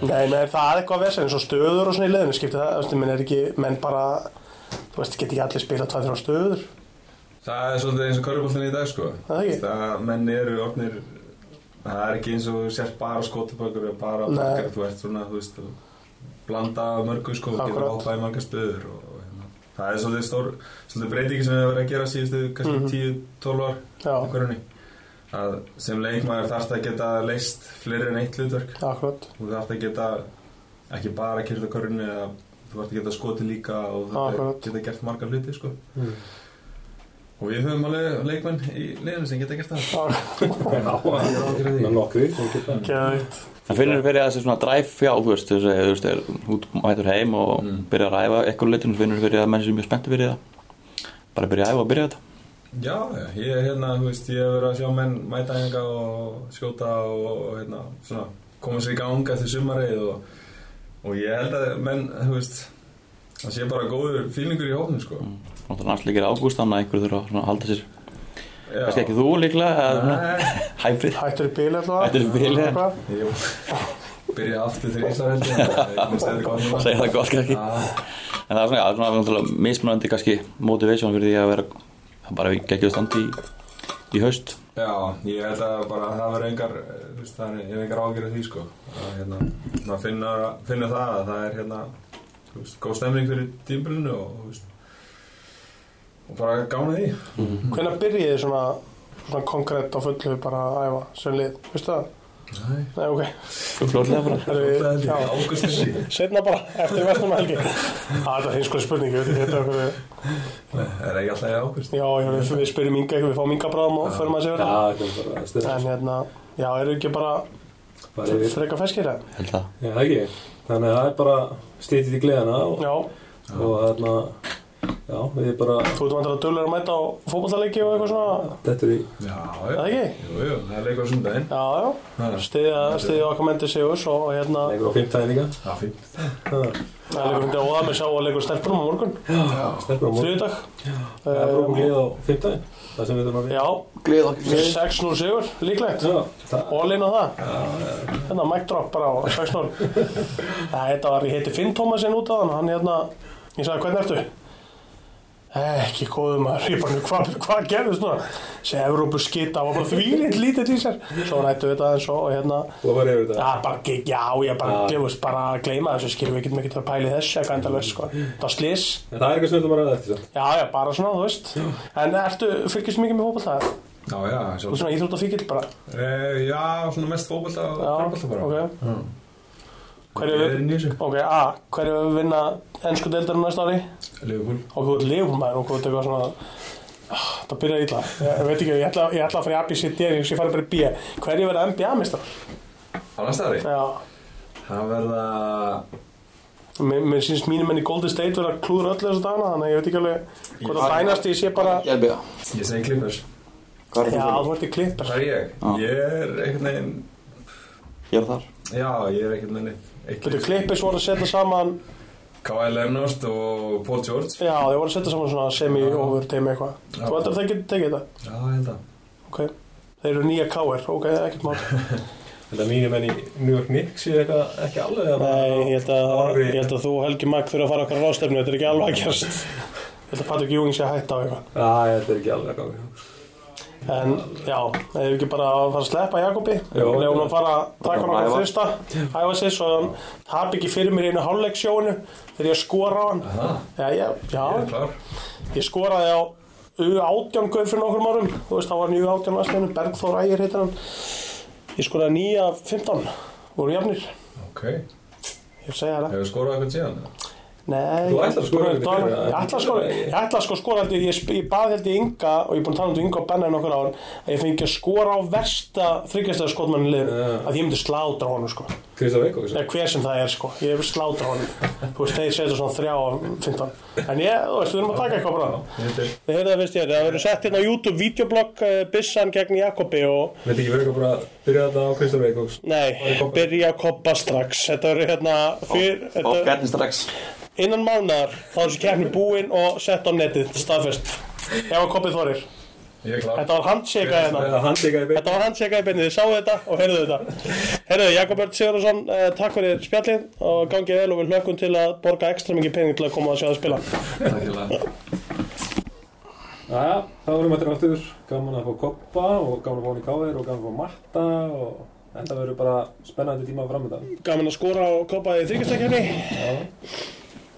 B: Nei, nei, það er eitthvað vesen eins og stöður og svona í leðinu skiptir það, þú veist, menn er ekki, menn bara þú veist, get ekki allir spila tvað þrjá stöður
C: Það er svolítið eins og körfuboltin í dag sko
B: Það ekki?
C: Það menn eru ofnir Það er ekki eins og þú sért bara skotabökur eða bara
B: Nei.
C: bakkar, þú ert svona, þú veist þú blanda af mörgu sko, þú getur
B: Akkurat.
C: hoppað í marga stöður og, og hérna. það er svolítið stór svolítið breytingi sem hefur verið að gera síðustu kannski 10-12 ár í
B: Mhm. Já,
C: hverjunni að sem leikmaður þarfst að geta leist fleiri en eitt hlutverk
B: akkurat,
C: þú þarft að geta ekki bara að kyrta körunni eða þú þarft að geta skoti líka og þú þarft að
B: Akkurat.
C: geta gert margar hluti sko.
D: Mm.
C: og við höfum alveg leikmenn í liðinu sem geta gert það
D: Já, já, nokkri sem geta.
B: geðvitt
E: Það finnir fyrir að þessi svona dræf fjá Þú veist, þú segir, þú veist, er út mætur heim og mm.
C: Mm.
E: byrja að ræfa eitthvað leitin Þú finnir fyrir að menn sem mjög spenntu fyrir það Bara byrja að æfa og byrja þetta
C: já, já, ég er hérna, þú veist, ég hef verið að sjá menn mæta henga og skjóta og, og hérna, svona, koma sér í gang eftir sumarið og, og ég held að menn, þú veist það sé bara góður fílingur í hófnum sko.
E: Mm. Náttúrulega landsleikir ágúst Þannig að einhver þurfa svona að halda sér
C: Já.
E: Kannski ekki þú líklega eða svona
C: Nei,
E: Hæfrið
B: Hættur í bíl allavega
E: Hættur í bili.
B: Eitthvað.
C: Jú. byrja aftur þrísar heldur ég finnst þetta gott núna.
E: Segja það gott kannski
C: Já.
E: En það er svona, já, svona náttúrulega mismunandi kannski Motivation fyrir því að vera það er Bara geggjum standi í, í haust
C: Já, ég held að bara það verður engar, eh, þú veist, það er engar ágjörð af því, sko. Að, hérna, maður finna, finna það að það er, hérna, þú veist, góð stemning fyrir tímbilinu og, þú veist, og bara gána því.
B: Hvenær byrjið þið svona, svona konkrétt á fullu bara að æfa sem lið, veistu það?
C: Nei.
B: Nei, ok,
E: Flótlega bara
B: það
C: Það
B: er
C: held
B: Eh,
C: ég,
B: já,
C: águstinni.
B: setna bara, eftir vestum helgi Á, Þetta er hins sko spurning, við þetta er okkur
C: Það er ekki alltaf í águst.
B: Já, já, við, við spyrjum ynga, við fáum ynga bráðum og förum að segja
D: Já,
B: það
D: það er bara
B: En
D: stöðast.
B: hérna, já, eru ekki bara
D: Bara yfir.
B: freka feskir það?
E: Held það
D: Já, ekki. Þannig að það er bara stýttið í gleðina og,
B: Já,
D: og þarna, já, við bara,
B: þú ert vantar að dölur að mæta á fótballtaleiki og eitthvað svona,
D: þetta er í,
C: Já,
B: er það
C: já.
B: ekki?
C: Jú, jú, það er leikur á sundaginn.
B: Já, já,
C: Það er
B: stiðja, stiðja okkar menndi Sigurs og hérna,
D: leikur á fimmtæðin líka.
C: það fínt.
D: Já,
B: það er leikur myndi óða með sá og leikur stelpunum á morgun,
D: stelpur á morgun.
B: þriðdag.
D: Það er bara glið á fimmtæðin, það sem við þurfum
B: Eh,
D: að
B: Já,
E: Gleð okkur
B: 6-0 Sigur, líklegt.
D: Já, það,
B: Ólinn á það Hérna, mic drop bara á 6-0 Það þetta var, ég heiti Finn Tómasin út af hann Hann hérna, ég sagði, hvernig ertu? "Eh, Ekki góðum maður Ég bara, "Nú, hvað hva gerðist núna? Þessi Evrópu skita, var bara þvílind lítið í sér Svo rættu við þetta eins og og hérna
D: þú var yfir þetta.
B: Já, bara, ge- já, ég bara,
D: Já.
B: ég veist, bara að gleyma þessu skilum við getum ekkert að pæli þessu, eitthvað endalaust, sko. Það slís,
D: En það er eitthvað sem við þurfum að ræða eftir samt.
B: já, já, bara svona, þú veist. En ertu, fylgjast mikið með fótballtæða?
C: Já, já,
B: Þú
C: sjálf.
B: er svona íþróttafíkil bara?
C: Eh, Já, svona mest fókbalta og
B: Já,
C: frábalta bara.
B: ok.
C: Já.
B: Hverju-
C: Ég er í nýsu.
B: Ok, A, hverju hefur við vinna ennsku deildar næsta ári?
C: Liverpool.
B: Og hvað er leifumæður og hvað er eitthvað svona Ah, Það byrjar illa, ég veit ekki, ég ætla, ég ætla að fara í ABCD en ég fara bara í B Hverju verða NBA-mistrar?
C: Á næsta ári.
B: Já,
C: Það verða...
B: mér, mér sínst mínum enn í Golden State verða að klúður öllu þessu dagana Þannig að ég veit ekki alveg hvað það dænast ég sé bara
E: Ég byrja
C: Ég segi Clippers.
E: Hvað
B: Já, þú ert í klippar
C: Það er ég.
E: Já.
C: Ég er einhvern veginn,
E: Ég er þar
C: já, ég er einhvern veginn
B: Þú
C: eitthvað.
B: klippis voru að setja saman
C: Kawhi Leonard og Paul George.
B: Já, þau voru að setja saman svona semi-over teimi eitthvað
C: Já.
B: Þú heldur að það getur tekið þetta?
C: Já, ég held að.
B: Ok, þeir eru nýja káir, ok, ekkert mál
D: Þetta mínir menn í New York Knicks séu eitthvað ekki alveg hérna. að
B: Nei, ég held, að,
D: Orri.
B: ég held að þú og Helgi Magg þurfa að fara okkar á ráðstefnu, þetta er ekki alveg að gerast Ég held að Patrik Júing sé að hætta á eitthvað
D: Já, þetta er ekki alveg að ganga.
B: En já, eða ekki bara að fara að sleppa Jakobi
D: Jó.
B: Lefa hún að fara að taka hann okkar
E: Æfa.
B: þrista Æfa sér svo hann tap ekki fyrir mér í einu hálfleiksjóinu Þegar ég skora á hann Já, já,
C: Ég er
B: já,
C: klár.
B: ég skoraði á U18 gauð fyrir nokkrum árum Þú veist, þá var hann í U18 landsliðinu, Bergþór Ægir heitir hann Ég skoraði 9 af 15, voru jafnir
C: Ok.
B: Ég segja það
C: Hefur skorað eitthvað síðan?
B: Nei,
D: Þú ætlar að skora
B: ég-
D: í fyrra,
B: ég ætla að skora Ég ætla að sko skora held ég, ég, sp- ég bað held ég Inga og ég er búin að tala um þetta við Inga og Benna í nokkur ár að ég fengi að skora á versta þryggjastæða skotmanni liður
D: Já.
B: að ég myndi slátra honum sko
D: Kristaf Eikóks
B: eða hver sem það er sko, ég hef slátra honum þú veist, þeir setja svona þrjá á 15 en ég, þú veist, við erum að taka eitthvað bara Þið heyrðu það fyrst ég þetta, það verður sett hérna á YouTube videoblogg uh, Bissan gegn Jakobi og
D: Veit ekki verið bara að byrja þetta á Kristaf Eikóks
B: nei, byrja að koppa strax þetta verður hérna fyr,
E: Og
B: þetta,
E: hvernig strax
B: innan mánar þá er þessi kefni búin og sett á netið staðfest, ef að kopið þorir
C: Ég er klár.
B: þetta var handsjekað hérna
D: Það handlika í beint
B: Þetta var handsjekað í beinni, þið sáu þetta og heyrðu þetta. Heyrðu, Jakob Örn Sigurðarsson, eh, takk fyrir spjallið og gangið vel og við hlökkum til að borga ekstra mikið pening til að koma að sjá það spila.
C: Takk fyrir það.
D: Jæja, þá erum við þetta aftur Gaman að fá koppa og gaman að fá hann í káðir og gaman að fá matta og þetta verður bara spennandi tíma framöndan
B: Gaman að skora og kopa í þryggjastakefni.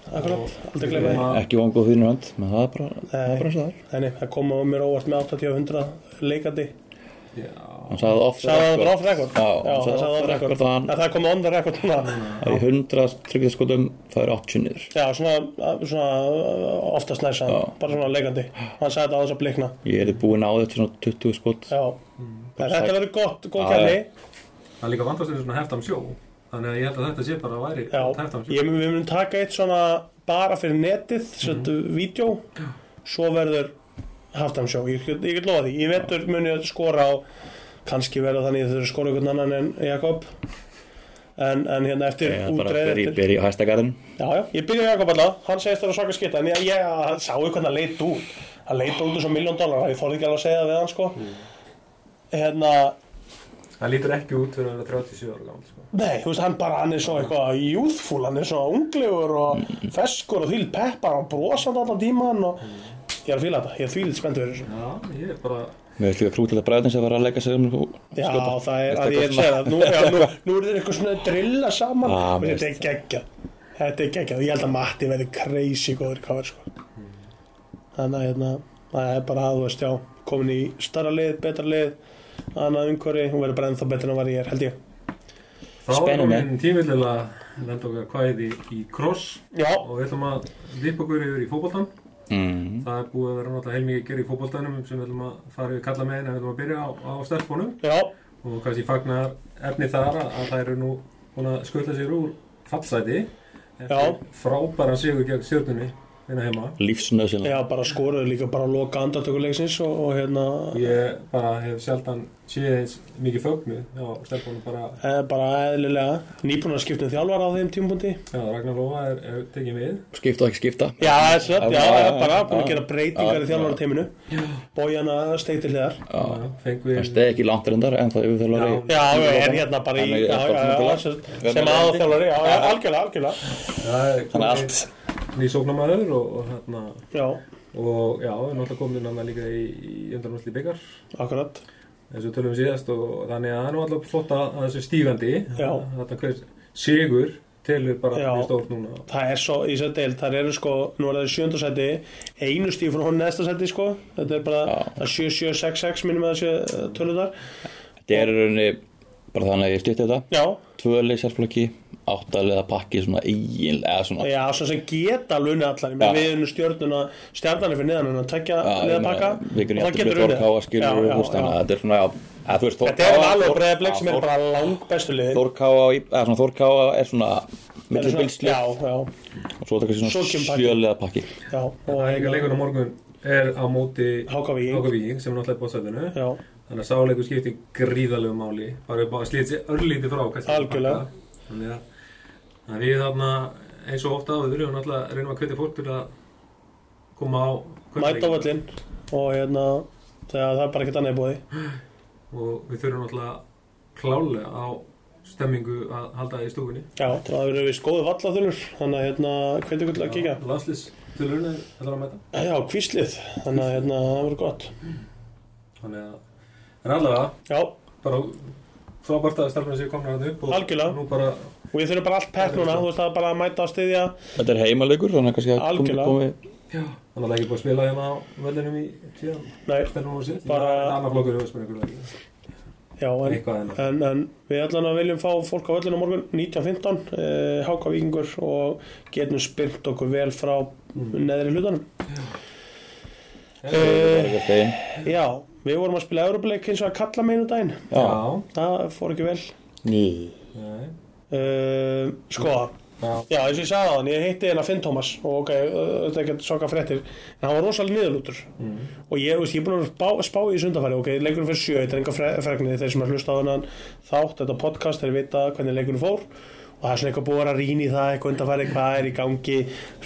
B: Akkurat, aldrei glemma því.
E: Ekki vangóð þínur hönd, menn það er bara það er bara eins og það er.
B: Þannig, það kom á mér óvart með 80 og 100 leikandi.
E: Hann sagði off
B: Sagði það bara off record?
E: Já,
B: Já,
E: hann
B: það sagði on record.
E: að hann
B: Ja, það kom on the record núna.
E: Það er 100 tryggðarskotum, það er 80 niður.
B: Já, svona, svona oftast næsa,
E: Já.
B: bara svona leikandi. Hann sagði þetta á þess að blikna.
E: Ég er búinn á þetta svona 20 skot.
B: Já, en þetta verður gott, góð
E: Já, já.
B: kefni.
D: Það er líka vandast þetta svona heftam sjó Þannig að ég held að þetta sé bara að væri
B: Já,
D: heftam sjó
B: ég, við munum taka eitt svona bara fyrir netið,
E: Mhm.
B: settu mm vídeo svo verður haftamsjó, ég, get- ég get lofa því ég vetur muni að skora á kannski verða þannig að þau eru skora einhvern annan en Jakob en, en hérna eftir
E: Ég er bara að
B: útreið
E: byrja-
B: eftir,
E: byrja í hæstagarðin.
B: já, já, ég byrja Jakob alltaf, hann segist það að svaka skita en ég, ég hann sá hvernig hann leit út hann leit bara út eins og miljón dólar, ég þorði ekki alveg að segja það við hann sko hérna
D: Það lítur ekki út fyrir að vera 37 ára gammal sko.
B: Nei, þú veist, hann bara, hann er svo eitthvað youthful, hann er svo unglegur og feskur og þvíl peppar og brosand allan tíman og ég er að fíla þetta, ég er þvílitt spenntur fyrir þessu.
D: Já, ég er bara
E: Mér veist líka krútilega bræðin sem var að leggja sig um og
B: Já,
E: skjóta.
B: það er,
E: Veist
B: að ég er að
E: eitthvað
B: segja
E: svona-
B: það, nú, já, nú, nú er þetta eitthvað svona að drilla saman,
E: Ah,
B: ah,
E: mér
B: þetta er geggjað, þetta er geggjað, ég held að Matti verði crazy góður káður, sko. Þannig að, hérna, það er bara að, þú veist, já, komin í starra lið, betra lið, annað umhverfi, hún verður bara ennþá betur en hún var ég er, held ég.
D: Þá er
E: Spennandi.
D: komin tímillilega lenda okkar kvæði í cross
B: Já,
D: og við ætlum að vipa okkur yfir í fótboltan.
E: Mm.
D: Það er búið að vera náttúrulega heilmikið að gera í fótboltanum sem við ætlum að fara yfir kalla með en við ætlum að byrja á, á stelpunum
B: já,
D: og kannski fagnar efni þar að að þær eru nú búin að skutla sér úr fallsæti
B: Já.
D: eftir frábæran sigur gegn stjórnunni hérna heima.
E: Lífsnauðsynlega.
B: Já, bara skoruðu líka bara að loka andartökuleiksins og, og hérna
D: Ég bara hef sjaldan séð eins mikið fögnu á stelpunum bara
B: eh, bara eðlilega nýbúnarskiptum þjálfar á þeim tímpúndi
D: Já, Ragnar Lóa er, er tekið við
E: Skipta og ekki skipta.
B: Já, það er slöpp, já,
E: Já,
B: já,
E: já,
B: bara
E: já,
B: búin að
E: já.
B: gera breytingar
E: Já,
B: í þjálfarteiminu Bójana steikti hliðar
E: Já.
D: fengum
E: Það
D: við
E: steði ekki langt reyndar en það yfirþjálfari
D: Já.
B: Já, já, er hérna bara í
E: Þannig
B: já,
E: er
B: já,
E: stofnun
B: já,
E: félag.
B: sem-
E: Verður
B: sem
E: að
B: aðalþjálfari,
E: hérna.
B: já, já, algjörlega, algjörlega
E: Þannig að allt
D: ný sóknarmæður og, og hérna
B: Já,
D: og já, við erum alltaf komin inn annað líka í, í undanúrsli byggar
B: akkurat
D: eins og við tölum síðast og þannig að það er nú alltaf flott að að þessu stígandi
B: Já.
D: þetta hver sigur telur bara
B: Já.
D: mjög stórt núna
B: Það er svo í þessar deil, það eru sko, nú er það í sjönda seti, einu stíf frá hún næsta seti sko, þetta er bara
E: Já.
B: það er 7-7-6-6 minnum að eh, þessi tölunar.
E: Þetta er í rauninni bara þannig að ég stýtti þetta
B: Já,
E: Tvölið sérflokki, áttaliða pakki svona eigin eða svona
B: já, svona sem geta alveg unnið allar, ég meina
E: Já.
B: við erum stjórnuna, stjarnan er fyrir neðan, hún að tekja
E: Já, ég
B: neða
E: meina,
B: pakka
E: Við
B: og
E: kunni
B: það
E: aftur með
B: getur unnið.
E: Þórkáa skilur
B: Já, já,
E: húst þannig
B: já.
E: að þetta er svona já, að þú veist
B: Þetta er alveg
E: Þór-
B: breyðbleik sem
E: Já,
B: er
E: Þór-
B: bara lang bestu liðin.
E: Þórkáa, og Í- eða svona Þórkáa er svona
B: Þetta er svona-
E: millibilsli
B: Já, já,
E: og svo er þetta
B: Svo
E: kannski
B: kemur
E: svona
B: pakki.
E: sjöliða pakki
B: já. Og hérna-
D: og líka leikurinn á morgun er á móti
B: Hákavík.
D: Hákavík sem er náttúrulega bóðsætinu
B: Já,
D: þannig að sáleikur skiptir gríðalegu máli bara upp á að slíti sér örlítið frá kannski.
B: Algjörlega.
D: þannig að þannig að við þarna eins og ofta áður við erum náttúrulega reynum að hvetja fólk til að koma á
B: mæta á völlinn og hérna, þegar það er bara ekkert annað í bóði.
D: og við þurfum náttúrulega klálega á stemmingu að halda í stúkunni
B: Já, það eru vist góðu vallathulur, þannig að hérna, hvernig vil að kíkja?
D: Landslis tilurinn er allar að mæta
B: Já, kvíslið, þannig að hérna, það verður gott.
D: þannig að en allavega
B: Já,
D: bara frábært að stelpunni séu komna hann upp og
B: Algjörlega.
D: nú bara
B: og ég þurfi bara allt pepp núna, þú veist það er bara að mæta á stiðja.
E: Þetta er heimaleikur þannig að kannski að komi,
B: Algjörlega.
E: komi
D: hann er ekki búið að spila hérna á völlinum í síðan
B: Nei,
D: stelpunum og sitt
B: Bara-
D: um annar flokkur hefur spilað ykkur
B: já, Já,
F: Eitthvað
B: en,
D: hérna.
F: hennar.
B: en, en við allan að viljum fá fólk á völlinu á morgun 19.15, eh, Háka Víkingur og getum spyrnt okkur vel frá neðri hlutanum
E: Það
B: eh,
E: er ekki þeim
B: Já, við vorum að spila Euroblake eins og að kalla meinu daginn
E: Já,
B: Það fór ekki vel
E: ný
F: Nei.
B: eh, Sko,
F: Já.
B: já, eins og ég sagði á hann, ég heitti hérna Finn Thomas og ok, eh, þetta er ekki að soka fréttir en hann var rosalega niðurlútur og ég, veist, ég er búin að spá, spá í sundafæri ok, leikurinn fyrir sjö, þetta er enga fre- fregnir þeir sem að hlusta á hennan þátt, þetta podcast þeir vita hvernig leikurinn fór og það er svona eitthvað búið að vera að rýna í það eitthvað undanfæri, hvað er í gangi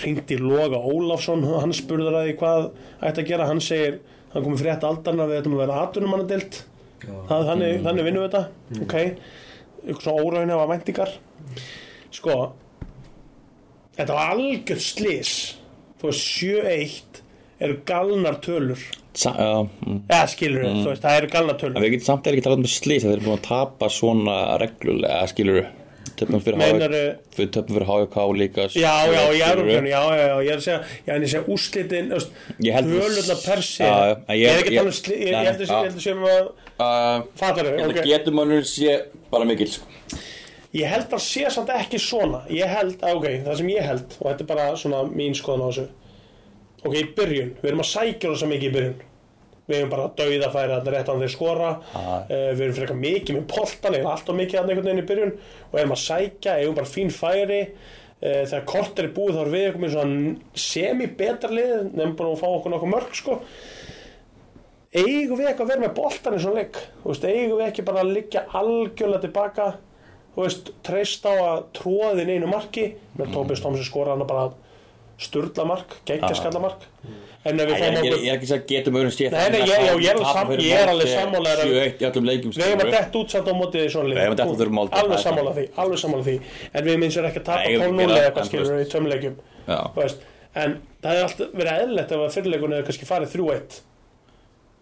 B: hringdi Loga Ólafsson, hann spurður að því hvað ætti að gera, hann segir hann komið frétt aldarna við ættum að vera atvinnumannadild það, þannig, þannig vinnum við þetta ok, eitthvað svona óraun hefa væntingar sko þetta var algjörð slis þú veist 7-1 eru galnar tölur
E: Sa- Já, mm.
B: eða skilur þú veist, það eru galnar
E: En
B: tölur
E: við getum samt eða ekki talað um slís Þeir eru búin að tapa svona reglulega Skilur Töpum fyrir
B: meinar,
E: HVK Við töpum fyrir HVK líka
B: já, já,
E: skilurðu.
B: já, já, já, já, já, ég er að segja já, en ég segja úrslitin, þú veist,
E: Ég held-
B: tölurna per se
E: Já, já, en
B: ég
E: ég-
B: er ekki að
E: ég-
B: tala um sli, ég ég
E: Nei,
B: held að sé-
E: já.
B: ég held að sé um að
E: Uh,
B: fattar þau,
E: Þetta
B: ok
E: getur mannur sé bara mikill sko.
B: Ég held að sé samt ekki svona Ég held, að, ok, það sem ég held og þetta er bara svona mín skoðan á þessu Ok, í byrjun, við erum að sækja þess mikið í byrjun Við erum bara að dauða færa þarna rétt á þeir skora uh, Við erum frekar mikið með poltan eða alltaf mikið þarna einhvern veginn í byrjun og erum að sækja, eigum bara fín færi uh, Þegar kort er í búið þá erum við eitthvað með svona semi-betra lið nefnum bara að fá okkur nokkuð mörg sko Eigum við eitthvað að vera með boltan í svona leik Þú veist, Eigum við ekki bara að liggja algjörlega tilbaka þú veist, treyst á að tróða þinn einu marki með mm. Tóbis Tómsi skora hann bara sturla mark, geggja skalla mark en ef
E: Mm. Æ,
B: við
E: Ég er
B: fáum
E: ekki-
B: okkur
E: ég er ekki að segja getum öðrum sé
B: Nei, nei, ég- já, ég er alveg sam- ég er alveg sammála þér að-
E: 7-1 í öllum leikum
B: við hefum að
E: skilurðu.
B: dett út samt á mótið í svona lið
E: Við eigum að detta út fyrir Moldóvu, það
B: alveg
E: er
B: sammála því, alveg sammála því en við minnsum ekki að
E: Nei,
B: tapa
E: eigum við
B: 12-0 eða
E: gera það,
B: eitthvað
E: en þú
B: skilur
E: veist.
B: í tömleikjum
E: Já.
B: Þú veist, en það hefði allt verið eðlilegt ef að fyrirleikunni hefði kannski farið 3-1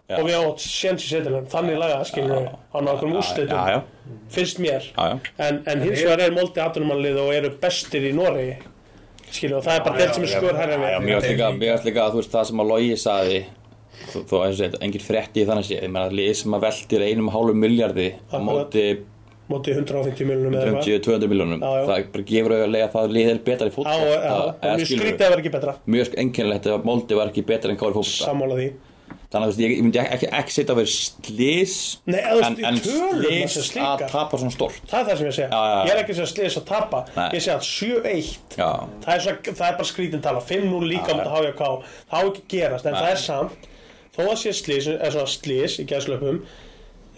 E: Já.
B: og við átt séns í setilum þannig lagað skilur við á nákvæmum
E: Já, já,
B: úrslitum finnst mér
E: já, já.
B: en, en hins vegar er Moldi atvinnumannlið og eru bestir í Noregi skilur og það er bara delt sem er skur hærra
E: Já,
B: við
E: mér varst líka, mér varst líka að þú veist það sem að Logi saði þó þó að eins og þetta engin frétti í þannig sé, ég meina að lið sem að veldir einum og hálfum miljardi á
B: Akkurat.
E: móti
B: mótið 150 miljonum eða eitthvað
E: 30-200 miljónum,
B: Já, já.
E: það bara gefur auðvitað að það lið er betra í
B: Já,
E: fótbolta
B: já, já,
E: Það-
B: og
E: eða
B: mjög
E: skilurðu,
B: skrítið að vera ekki betra
E: mjög enginnilegt að Moldi var ekki betra en Kári fótbolta
B: sammála því
E: þannig að þú veist, ég, ég myndi ekki, ekki, ekki setja að vera slís
B: Nei, eða þú
E: en,
B: veist, í
E: en
B: tölum þessu
E: slís að
B: slíkar.
E: tapa svona stort
B: það er það sem ég segja,
E: Já, já, já.
B: ég er ekki sem sliðis að tapa
E: Nei.
B: ég segja að 7-1
E: Já,
B: það, er svo, það er bara skrítin tala, 5-0 líka um þetta HJK, það á ekki að gerast en það er samt, þó að sé sliðis er svona sliðis í gæðslöpum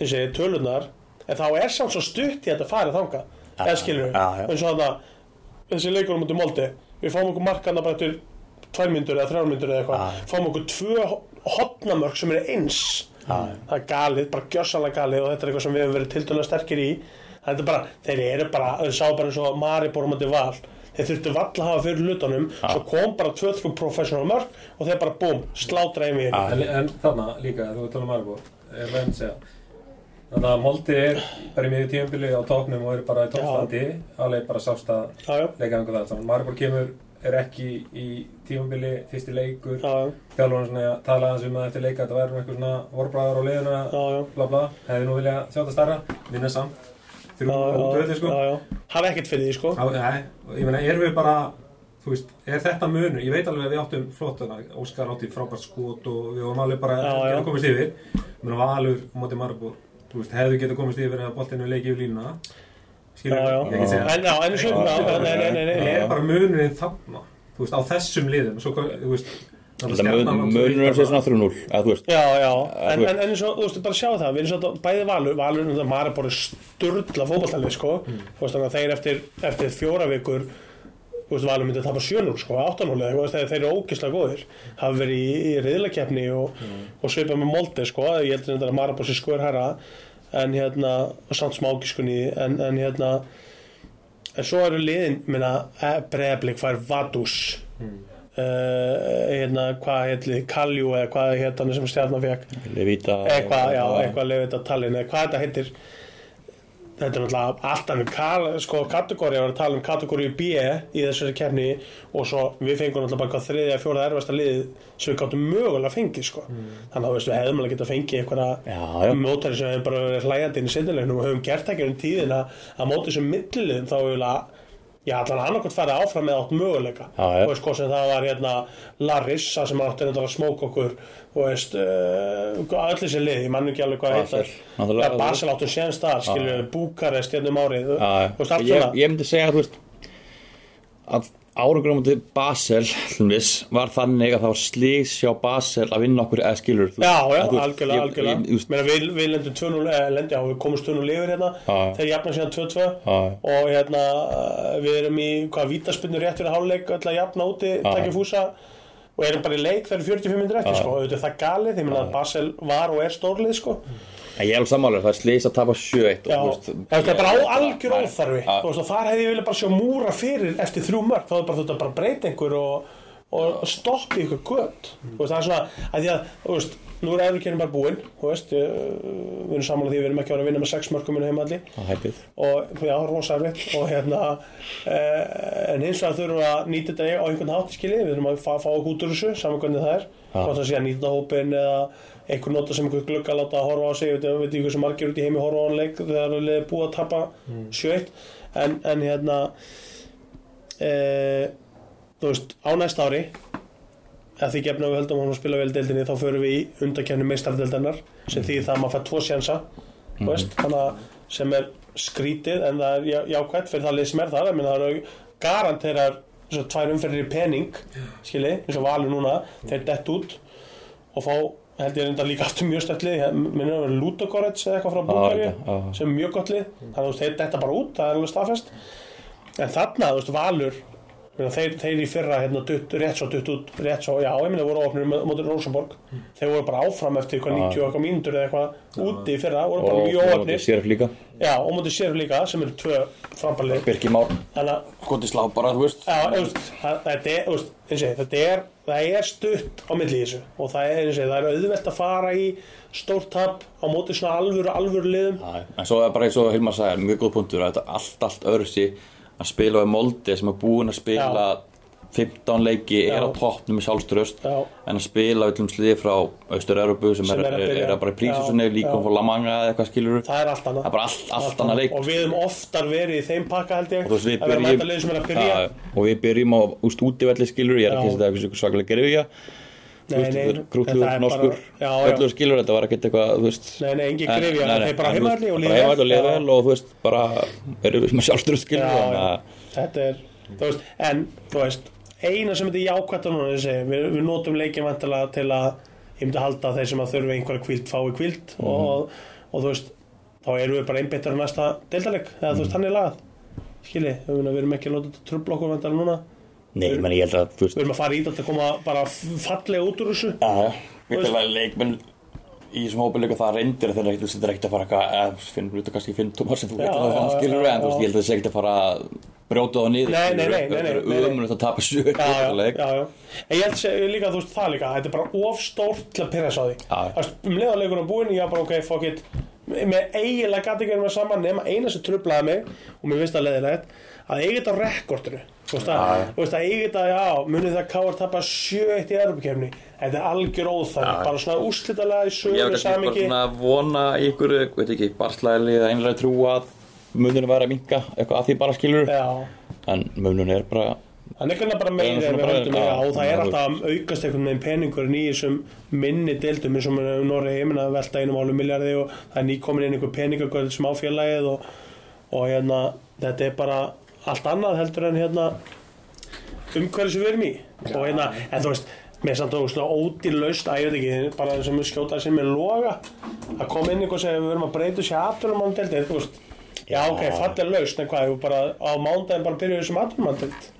B: ég segi tölunar, en þá er samt svo stutt í þetta farið þanga eða skilur við,
E: já, já.
B: eins og þannig þessi leikur á mútið Moldi, við fáum okkur markana bara eftir tvær myndur eða þrjár myndur eða eitthvað, fáum okkur tvö hotnamörk sem eru eins það er galið, bara gjössalega galið og þetta er eitthvað sem við hefum verið tildulega sterkir í þetta er bara, þeir eru bara, þeir sá bara eins og Mari borumandi val þeir þurftu valla að hafa fyrir hlutunum svo kom bara tvö, þrjú professional mörk og þeir bara búm, slátra í mér
D: En, en þarna líka, þú ert alveg margur, er verðin að segja. Þannig að Moldi er bara í miðju tíumbili á topnum og er bara í toppstandi, alveg bara sást að
B: Já, já.
D: leika einhvern veginn. Þannig að Margur kemur, er ekki í tíumbili, fyrsti leikur,
B: Já, já.
D: þjálfurinn svona talaði hans um að eftir leika þetta væri nú eitthvað svona vorbræðar á liðuna,
B: Já, já.
D: bla bla, hefði nú viljað sjá þetta starra, vinna samt, þrjú ótröði sko.
B: já, já. hafa ekkert fyrir því sko
D: Já, nei, ég meina, erum við bara þú veist, er þetta munur, ég veit alveg að við áttum flottana, Óskar átti frábært skot og við vorum alveg bara
B: Já,
D: að
B: já.
D: geta komist yfir ég meina, Valur á móti Marabúr, þú veist, hefðu getað komist yfir eða boltinu leikið yfir línuna skilur,
B: já, já.
D: ég ekki segja
B: en já, en svo já, já, nei, nei, nei,
D: það
B: nei,
D: er bara munurinn þarna þú veist, á þessum liðum svo, hvað- þú veist, þannig
E: þetta mun- munur er sér svona 3-0 eða þú veist,
B: Já, já, en,
E: þú-
B: en, en eins og, þú veist, bara sjá það, við erum svolítið bæði Valur, Valur, það maður er bara sturla fótballtalið, sko, þú veist, þannig að þeir eftir, eftir fjóra vikur, þú veist, Valur myndi að tapa 7-0, sko, 8-0, eða, þú veist, þegar þeir eru ógislega góðir, hafa verið í, í riðlakeppni og, og svipað með Molde, sko, ég heldur þetta að maður er bara sér skur herra, en hérna, og samt smákiskunni, en, en hérna, en svo eru liðin, minna, bregðarblik fær Vadús, Uh, hérna, hvað heitlið, Kaljú eða hvað heit hann sem stjarnan fekk
E: Levita
B: eitthvað, já, eitthvað lefið þetta talin eða hvað þetta heitir þetta er náttúrulega allt annað kal- sko, kategóri, ég var að tala um kategóri B í þessari kefni og svo við fengum náttúrulega bara hvað þriðja, fjóraða erfasta lið sem við gáttum mögulega að fengi sko. þannig að veist, við hefðum alveg getað að fengi
E: Mm. Já, já.
B: einhverja mótari sem hefur bara verið hlægjandi inn í sinnilegnum og höfum gert ekki um tíðin að, að móti sem milliliðum þá hefur Já, allan annarkvæmt farið áfram með átt möguleika
E: Já, já.
B: og veist, hvað sem það var hérna Larissa sem átti hérna að smóka okkur og veist, uh, allir þessi lið, ég mann ekki alveg hvað
E: Basel,
B: heitar
E: náttúrulega.
B: Já, Basel áttu séns þar, skilju, Búkarest hérna um árið, þú
E: Já,
B: þú veist, allt
E: ég,
B: svona
E: ég myndi segja þú veist, að árangur á móti Basel hlumvis, var þannig að það var slíks hjá Basel að vinna okkur eða skilur þú-
B: Já, já,
E: að þú-
B: algjörlega,
E: ég-
B: algjörlega
E: ég- þú veist,
B: Meina, við, við lendum 2-0, eh, lendi, já, við komumst 2-0 yfir hérna
E: Já.
B: þegar jafna síðan 2-2
E: Já.
B: og hérna, eh, við erum í hvað, vítaspinnur rétt fyrir háluleik, öll að jafna úti takja fúsa og erum bara í leik þegar 45 minnir eftir, sko, auðvitað er það galið ég meina að Basel var og er stórlið, sko
E: En ég er alveg sammála, það er slíks að tapa 7-1
B: Já,
E: og, þú veist,
B: það er bara á algjör
E: bara-
B: óþarfi
E: Já.
B: Þú veist, og þar hefði ég vilja bara sjá múra fyrir eftir þrjú mörg, þá er bara þetta bara að breyta einhver og, og stoppa í ykkur gött mm. það er svona, að því að þú veist, nú er Evrikerinn bara búinn þú veist, eh, við erum samanlega því að við erum ekki að vera að vinna með sex mörgum minna heimalli
E: Það er hæpið
B: og já, rosa erfitt og hérna eh, en hins vegar þurfum við að nýta þetta á einhvern hátt skilji, við þurfum að fá, fá okkur út úr þessu saman hvernig það er, hvort það sé að nýta hópin eða einhver nota sem einhver glugga láta að horfa á sig, við veitum ekki hversu margir út í heimi horfa á hann leik þegar það er búið að tapa mm. en, en hérna e, þú veist, á næsta ári að því gefna við höldum að hún spila vel í deildinni þá förum við í undarkefni meistardeldarnar sem því það að maður fær tvo sjansa mm
E: Mhm.
B: veist, þannig að sem er skrítið en það er já- jákvætt fyrir það lið sem er þar menn það eru garanterar eins og tvær umferðir í pening skili, eins og valur núna, þeir dett út og fá held ég reynda líka aftur mjög stætt lið Ég minnir að vera Ludogorets eða eitthvað frá Búkari
E: já, já.
B: sem er mjög gott lið, þannig að þeir detta bara út það er alveg staðfest en þarna, þú veist, Valur ég meina, þeir, þeir í fyrra hérna, dutt, rétt svo dutt út rétt svo, já, ég minna voru ofnir mótið Rósamborg, þeir voru bara áfram eftir eitthvað 90 og eitthvað mínútur eða eitthvað úti í fyrra, voru bara
E: Og
B: mjög
E: og
B: ofnir
E: móti Sérf líka
B: Já, og mótið sér líka sem eru tvö frambarlið
E: Birki Már
B: Þannig að
E: Góti slá bara, þú veist
B: Já, þú veist, það- þetta er, þú veist, eins og ég, þetta er, það er stutt á milli í þessu og það er, eins og ég, það er auðvelt að fara í stórt tap á móti svona alvöru, alvöru liðum
E: Já, já. En svo er bara eins og Hilmar sagði, mjög góð punktur að þetta er allt, allt öðruðsi að spila við Molde sem er búinn að spila 15 leiki, er á
B: Já.
E: toppnum með sjálfströst
B: Já.
E: en að spila við til um sliði frá Austur-Európu sem,
B: Sem
E: er,
B: er að
E: er,
B: byrja.
E: er að bara í prísisunni
B: Já,
E: líka
B: já.
E: um fór Lamanga eða eitthvað skilur
B: Það er allt annað
E: Það er bara allt- allt annað leik.
B: Og við höfum oftar verið í þeim pakka held ég
E: og þú veist við
B: Að vera
E: byrjum
B: mæta liðum sem er að byrja
E: Já, og við byrjum á úst útivelli skilur ég er
B: Já.
E: ekki að þetta er eitthvað svakalega gerfja
B: Nei, nei, en það
E: krútlugur,
B: er
E: norskur,
B: bara- já, já.
E: öllu skilur þetta var ekkert eitthvað, þú veist
B: Nei, nei, engin
E: En-
B: grifja,
E: nei, nei,
B: þeir bara
E: en þú
B: heimaðli
E: veist,
B: og
E: bara
B: líða
E: heimavelli og
B: Já.
E: liða vel og þú veist, bara erum við með sjálfstöru skilur
B: já,
E: þannig
B: já,
E: að-
B: þetta er þú veist, en þú veist eina sem þetta er jákvætt á núna ég segi, við, við notum leikin vantilega til að ég myndi halda að þeir sem að þurfi einhverja kvíld fái kvíld
E: Mhm.
B: og, og þú veist þá erum við bara einbyttar á næsta deildaleg eða
E: Mhm.
B: þú veist, hann er lagað skilji, við, við erum ekki að láta þetta trubla okkur vantilega núna
E: Nei, ég meni, ég held að, þú veist
B: við erum að fara í þetta að koma bara fallega út úr þessu
E: Já, já, við erum að leikmenn í þessum hópi leika það reyndir þeir eru ekkert, þú veist, þetta er ekkert að fara eitthvað eða finnum við þetta kannski finnum tómar sem þú veit
B: Já,
E: að það
B: já,
E: skilur
B: já,
E: en þú veist,
B: já.
E: ég held að þessi ekkert að fara að brjóta það niður
B: Nei, nei, nei, nei, nei, nei, nei.
E: umlust að tapa sjöður
B: já, já, já, já. En ég held sé- líka að þú veist það líka Þetta er bara of stórt til að pyrra sá því Þú
E: já.
B: veist, Um leiðarleikur á búin, ég var bara ok, fuck it Með eiginlega gæti ekki verið með saman Nefna eina sem trublaði mig Og mér finnst það leiðilegt Að eigi þetta á rekordinu Þú veist að, þú veist að eigi þetta, já, munið það Káar tapa 7-1 í erupkefni Þetta er algjör óþar Bara svona úrslitalega í
E: Ég
B: sögur
E: hef kannski bara
B: samingi
E: svona að vona í ykkur, eh, veit ekki, barslæðili eða einlega trú að mununum væri að minka eitthvað að því bara skilur
B: Já,
E: en mununum er bara
B: Það er nefnilega bara
E: Það
B: meira
E: er
B: en við
E: svona bara-
B: höldum meira
E: já,
B: og það er
E: já,
B: alltaf að aukast einhvern veginn peningurinn í þessum minni deildum eins og mér um Noregi heiminn að velta einum álum miljardi og það er nýkomin inn einhver peningagörð sem á félagið og, og hérna, þetta er bara allt annað heldur en hérna umhverju sem við erum í og hérna, en þú veist, mér er samt og svona ódýrlaust, að ég veit ekki, bara eins og mjög skjóta sér með loga að koma inn einhver sem við verum að breyta sér aðtunum án deildi, þú veist Já, ok, fallega laust, en hvað, ef við bara á mándaginn bara byrjuðum sem aðtunum án deildi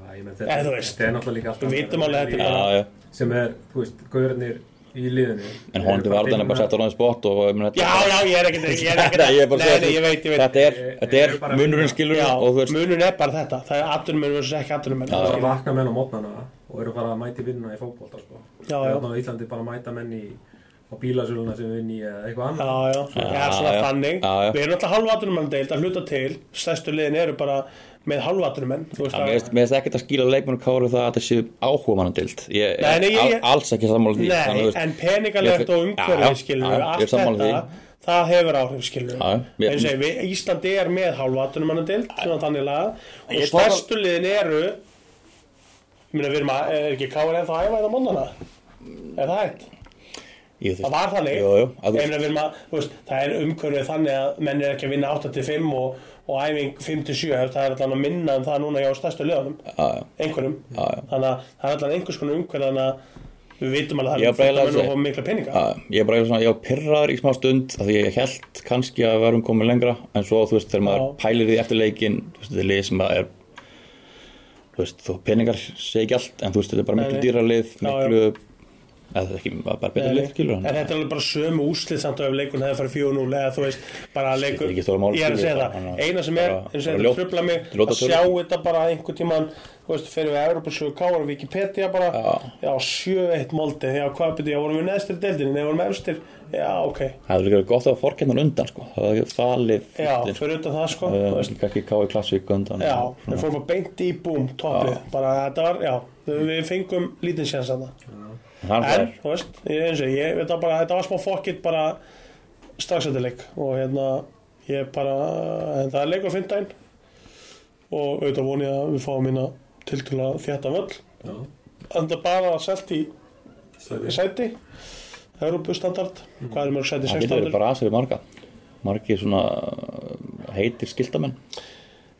D: Já, ég meina,
B: Eh, þú
D: þetta
B: veist.
D: þetta er náttúrulega líka allt
B: Við vitum alveg að þetta er
E: Já,
B: bara-
E: já,
D: sem er, þú veist, gaurarnir í liðinu
E: en hóndi var þannig bara sett á ráðin spott og ég meina, þetta-
B: Já, já, ég er ekkert ég er ekkert
E: Nei, ég er bara að
B: nei,
E: segja
B: nei, ég veit, ég veit
E: Þetta er, þetta er
D: Ég er bara-
E: munurinn skilur
B: Já,
E: og þú veist
B: munun er bara þetta Það er atunum menn versus ekki atunum menn
D: bara vakna menn á mótnana og eru bara að mæti vinna í fótbolta sko.
B: Já,
D: Þegar
B: já.
D: þarna á Íslandi bara að mæta menn í
F: á bílasöluna sem við vinn í eða eitthvað annað
B: Já, já, eða svona
E: já.
B: þannig
E: Já, já.
B: Við erum alltaf halvatunumenn deild að hluta til Stærstu liðin eru bara með halvatunumenn Þú veist
E: Já, mér
B: að
E: finnst- mér finnst ekkert að skýra leikmennu káru það að þetta séu áhuga mannandild Ég
B: Nei,
E: er
B: nei, ég-
E: al,
B: ég-
E: alls ekki sammála því
B: Nei,
E: þannig, þú veist,
B: en peningalegt
E: Ég-
B: og
E: Já, já,
B: umhverfið skilur
E: já,
B: við
E: ég er
B: Allt
E: sammála
B: þetta,
E: því.
B: það hefur áhrif skilur
E: Já, já,
B: við
E: mér-
B: En segi, við- Íslandi er með halvatunumenn deild Svona þannig laga
E: Ég
B: Og
E: tók að-
B: stærstu liðin eru Ég meina, við erum að, er ekki káir eða það æfa þetta móndana Er það hægt?
E: ég þú
B: Það
E: veist,
B: var þannig
E: Jú, jú, að þú-
B: Ég meina, við erum að, þú veist, Það er umhverfið þannig að menn er ekki að vinna 8-5 og, og æfing 5-7 það er allan að minna en það núna hjá stærstu löðunum
E: já, já.
B: einhverjum
E: Já, já.
B: þannig að það er allan einhvers konar umhverfið þannig að við vitum alveg að það
E: Já,
B: er
E: bara ég
B: fullt af
E: lasi.
B: mönnum og mikla peninga
E: Já, ég er bara eiginlega svona, ég var pirraður í smá stund af því ég held kannski að við verum komin lengra en svo þú veist þegar maður
B: Já.
E: pælir því eftir leikin þú veist þetta er lið sem að er þú veist þú peningar segi ekki allt en þú veist þetta er bara
B: Nei,
E: miklu
B: nei.
E: dýra lið
B: Já, já.
E: miklu eða það er ekki bara betur lið skilur
B: en
E: hann
B: þetta er alveg bara sömu úslið samt og ef leikun hefði farið 4-0 eða þú veist bara að leikur
E: er ekki stóra mál,
B: ég er að
E: skilur,
B: segja
E: bara-
B: það eina sem er
E: bara-
B: eins og
E: bara
B: þetta
E: ljótt.
B: tröfla mig
E: Ljóta
B: að
E: tölur.
B: sjá þetta bara einhvern tíman þú veist fyrir við Europasögu Káar og Wikipedia bara
E: Já.
B: já 7-1 moldi já hvað byrju já vorum við neðstir í deildinni nei vorum við efstir já ok
E: það er líka gott að fórkennan undan sko það er ekki falið
B: já fyrir utan það sko þú veist
E: kannski kái klassík undan
B: já
E: og svona.
B: við fórum bara beint í búm topplið bara þetta var já við fengum lítinn séns að
E: Hann
B: En,
E: er-
B: þú veist, ég, eins og ég veit að bara, þetta var smá fokkitt bara strax eftir leik og hérna, ég bara, en það er leikur fyrndaginn og auðvitað voni að við fáum hérna til til að þjætta völl. En það bara selt í sæti, Europastandard, hvað er mörg sæti,
E: Mhm. það
B: 6
E: getur verið
B: standard?
E: bara aðsverið marga margir svona uh, heitir skildamenn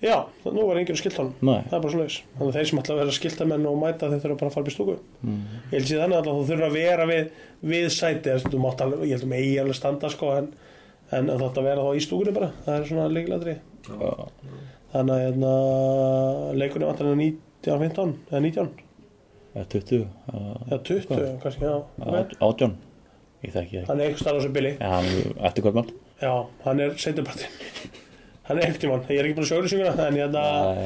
B: Já, það- nú var enginn skiltanum.
E: Nei.
B: Það er bara svoleiðis. Þannig að þeir sem ætla að vera skiltamenn og mæta þeir þurfa bara að fara upp í stúku. Ég held sér þannig að þú þurfa að vera við, við sæti, þess að þú mátt alveg, ég held um eigi alveg standa sko, en, en þú þátt að vera þá í stúkunni bara. Það er svona leikilatri.
E: Já.
B: Þannig að hérna, leikunni vantar hann 19, 15, eða 19,
E: eða 20 uh,
B: eða 20 kannski, já.
E: át- átján ég þekki það ekki
B: Hann er eitthvað starf á þessu bili.
E: Já, hann er eftir hvað mál
B: Já, hann er setjabartinn. hann er ekkert í mann. Ég er ekki búin að sjóri synguna, en hérna,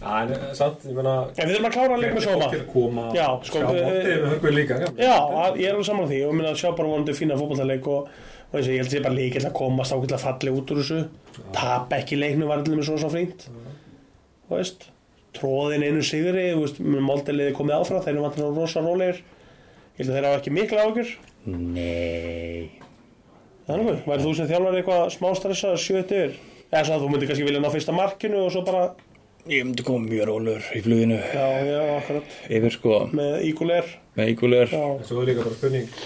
D: Já, en eh, samt, ég meina
B: en við þurfum að klára að leika með sóma.
D: fólk er að koma
B: Já, sko,
D: sjá
B: eh,
D: mótið með hörkuð líka já.
B: Já, að- ég er alveg saman því og minna að sjá bara vonandi fína fótballtaleik og, og eins og ég held að ég bara líkilega að komast ákveðlega falli út úr þessu tap ekki leiknu var allir með svona svo frínt og veist tróðin einu sigri, þú veist, moldeliði komið áfram, þeir eru vantan að rosa rólegir ég held að þeir hafa ekki mikla ágjur
E: Nei
B: þannig, væri þú sem þjálfari eitthvað smástressa sjötti yfir, eða svo að þú myndir kannski vilja ná fyrsta markinu og svo bara
E: Ég myndi koma mjög rólur í fluginu
B: já, já, akkurat,
E: Yfir sko
B: með íguleir
E: með ígulur
B: já,
D: En Svo er líka bara spurning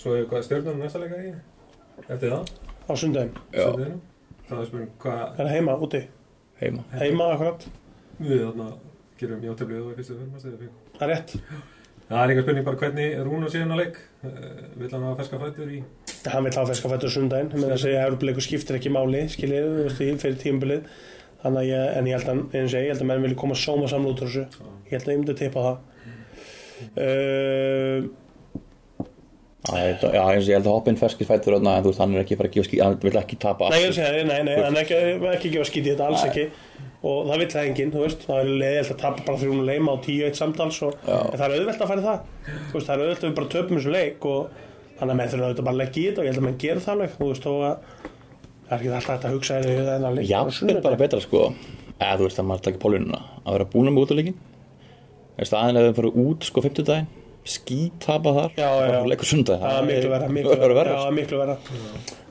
D: Svo er hvað stjórnum næsta leika í Eftir það,
B: á sundaginn,
D: stjórnum Það er spurning hvað
B: er heima, úti
E: heima
B: heima, akkurat,
D: við þarna gerum játtöflið og í fyrstu fyrir maður
B: það er rétt
D: Það er líka spurning bara hvernig Rúnar sé hennar leik Eh, Vill hann hafa ferska fætur í
B: hann vil hafa ferska fættur sundaginn menn að segja að Európleikur skiptir ekki máli skilir, þú veist, í- fyrir tímabilið þannig að ég, en ég held að, eins og ég, ég held að menn vilja koma sóma saman út úr þessu ég held að ég myndi að tippa það uh,
E: Já, ég held að- já, eins og ég held að hoppinn ferskir fættur þarna En þú veist, hann er ekki að fara að gefa ský Hann vil ekki tapa
B: nei, ég
E: aftur.
B: vil segja, það, nei, nei, hann er ekki, ekki gefa skítið þetta alls ekki og það vill það enginn, þú veist það er leiðilt að tapa bara þrjúnu leima á 10-1 samtals og, en það er auðvelt að fara í það Þú veist, það er auðvelt að við bara töpum þessu leik og þannig að menn þurfa auðvitað bara að leggja í þetta og ég held að menn gera það alveg, þú veist, þó að það er ekki alltaf hægt að hugsa þér í þennan leik á
E: Jafnvel
B: sunnudaginn.
E: bara betra sko eða þú veist að maður taka pólununa að vera búin með útileikin í staðin að við fyrir út sko 50 daginn skítapa þar
B: Já, já, já.
E: leikur sunda
B: Já, miklu verra, miklu verra, já, miklu verra
E: sko.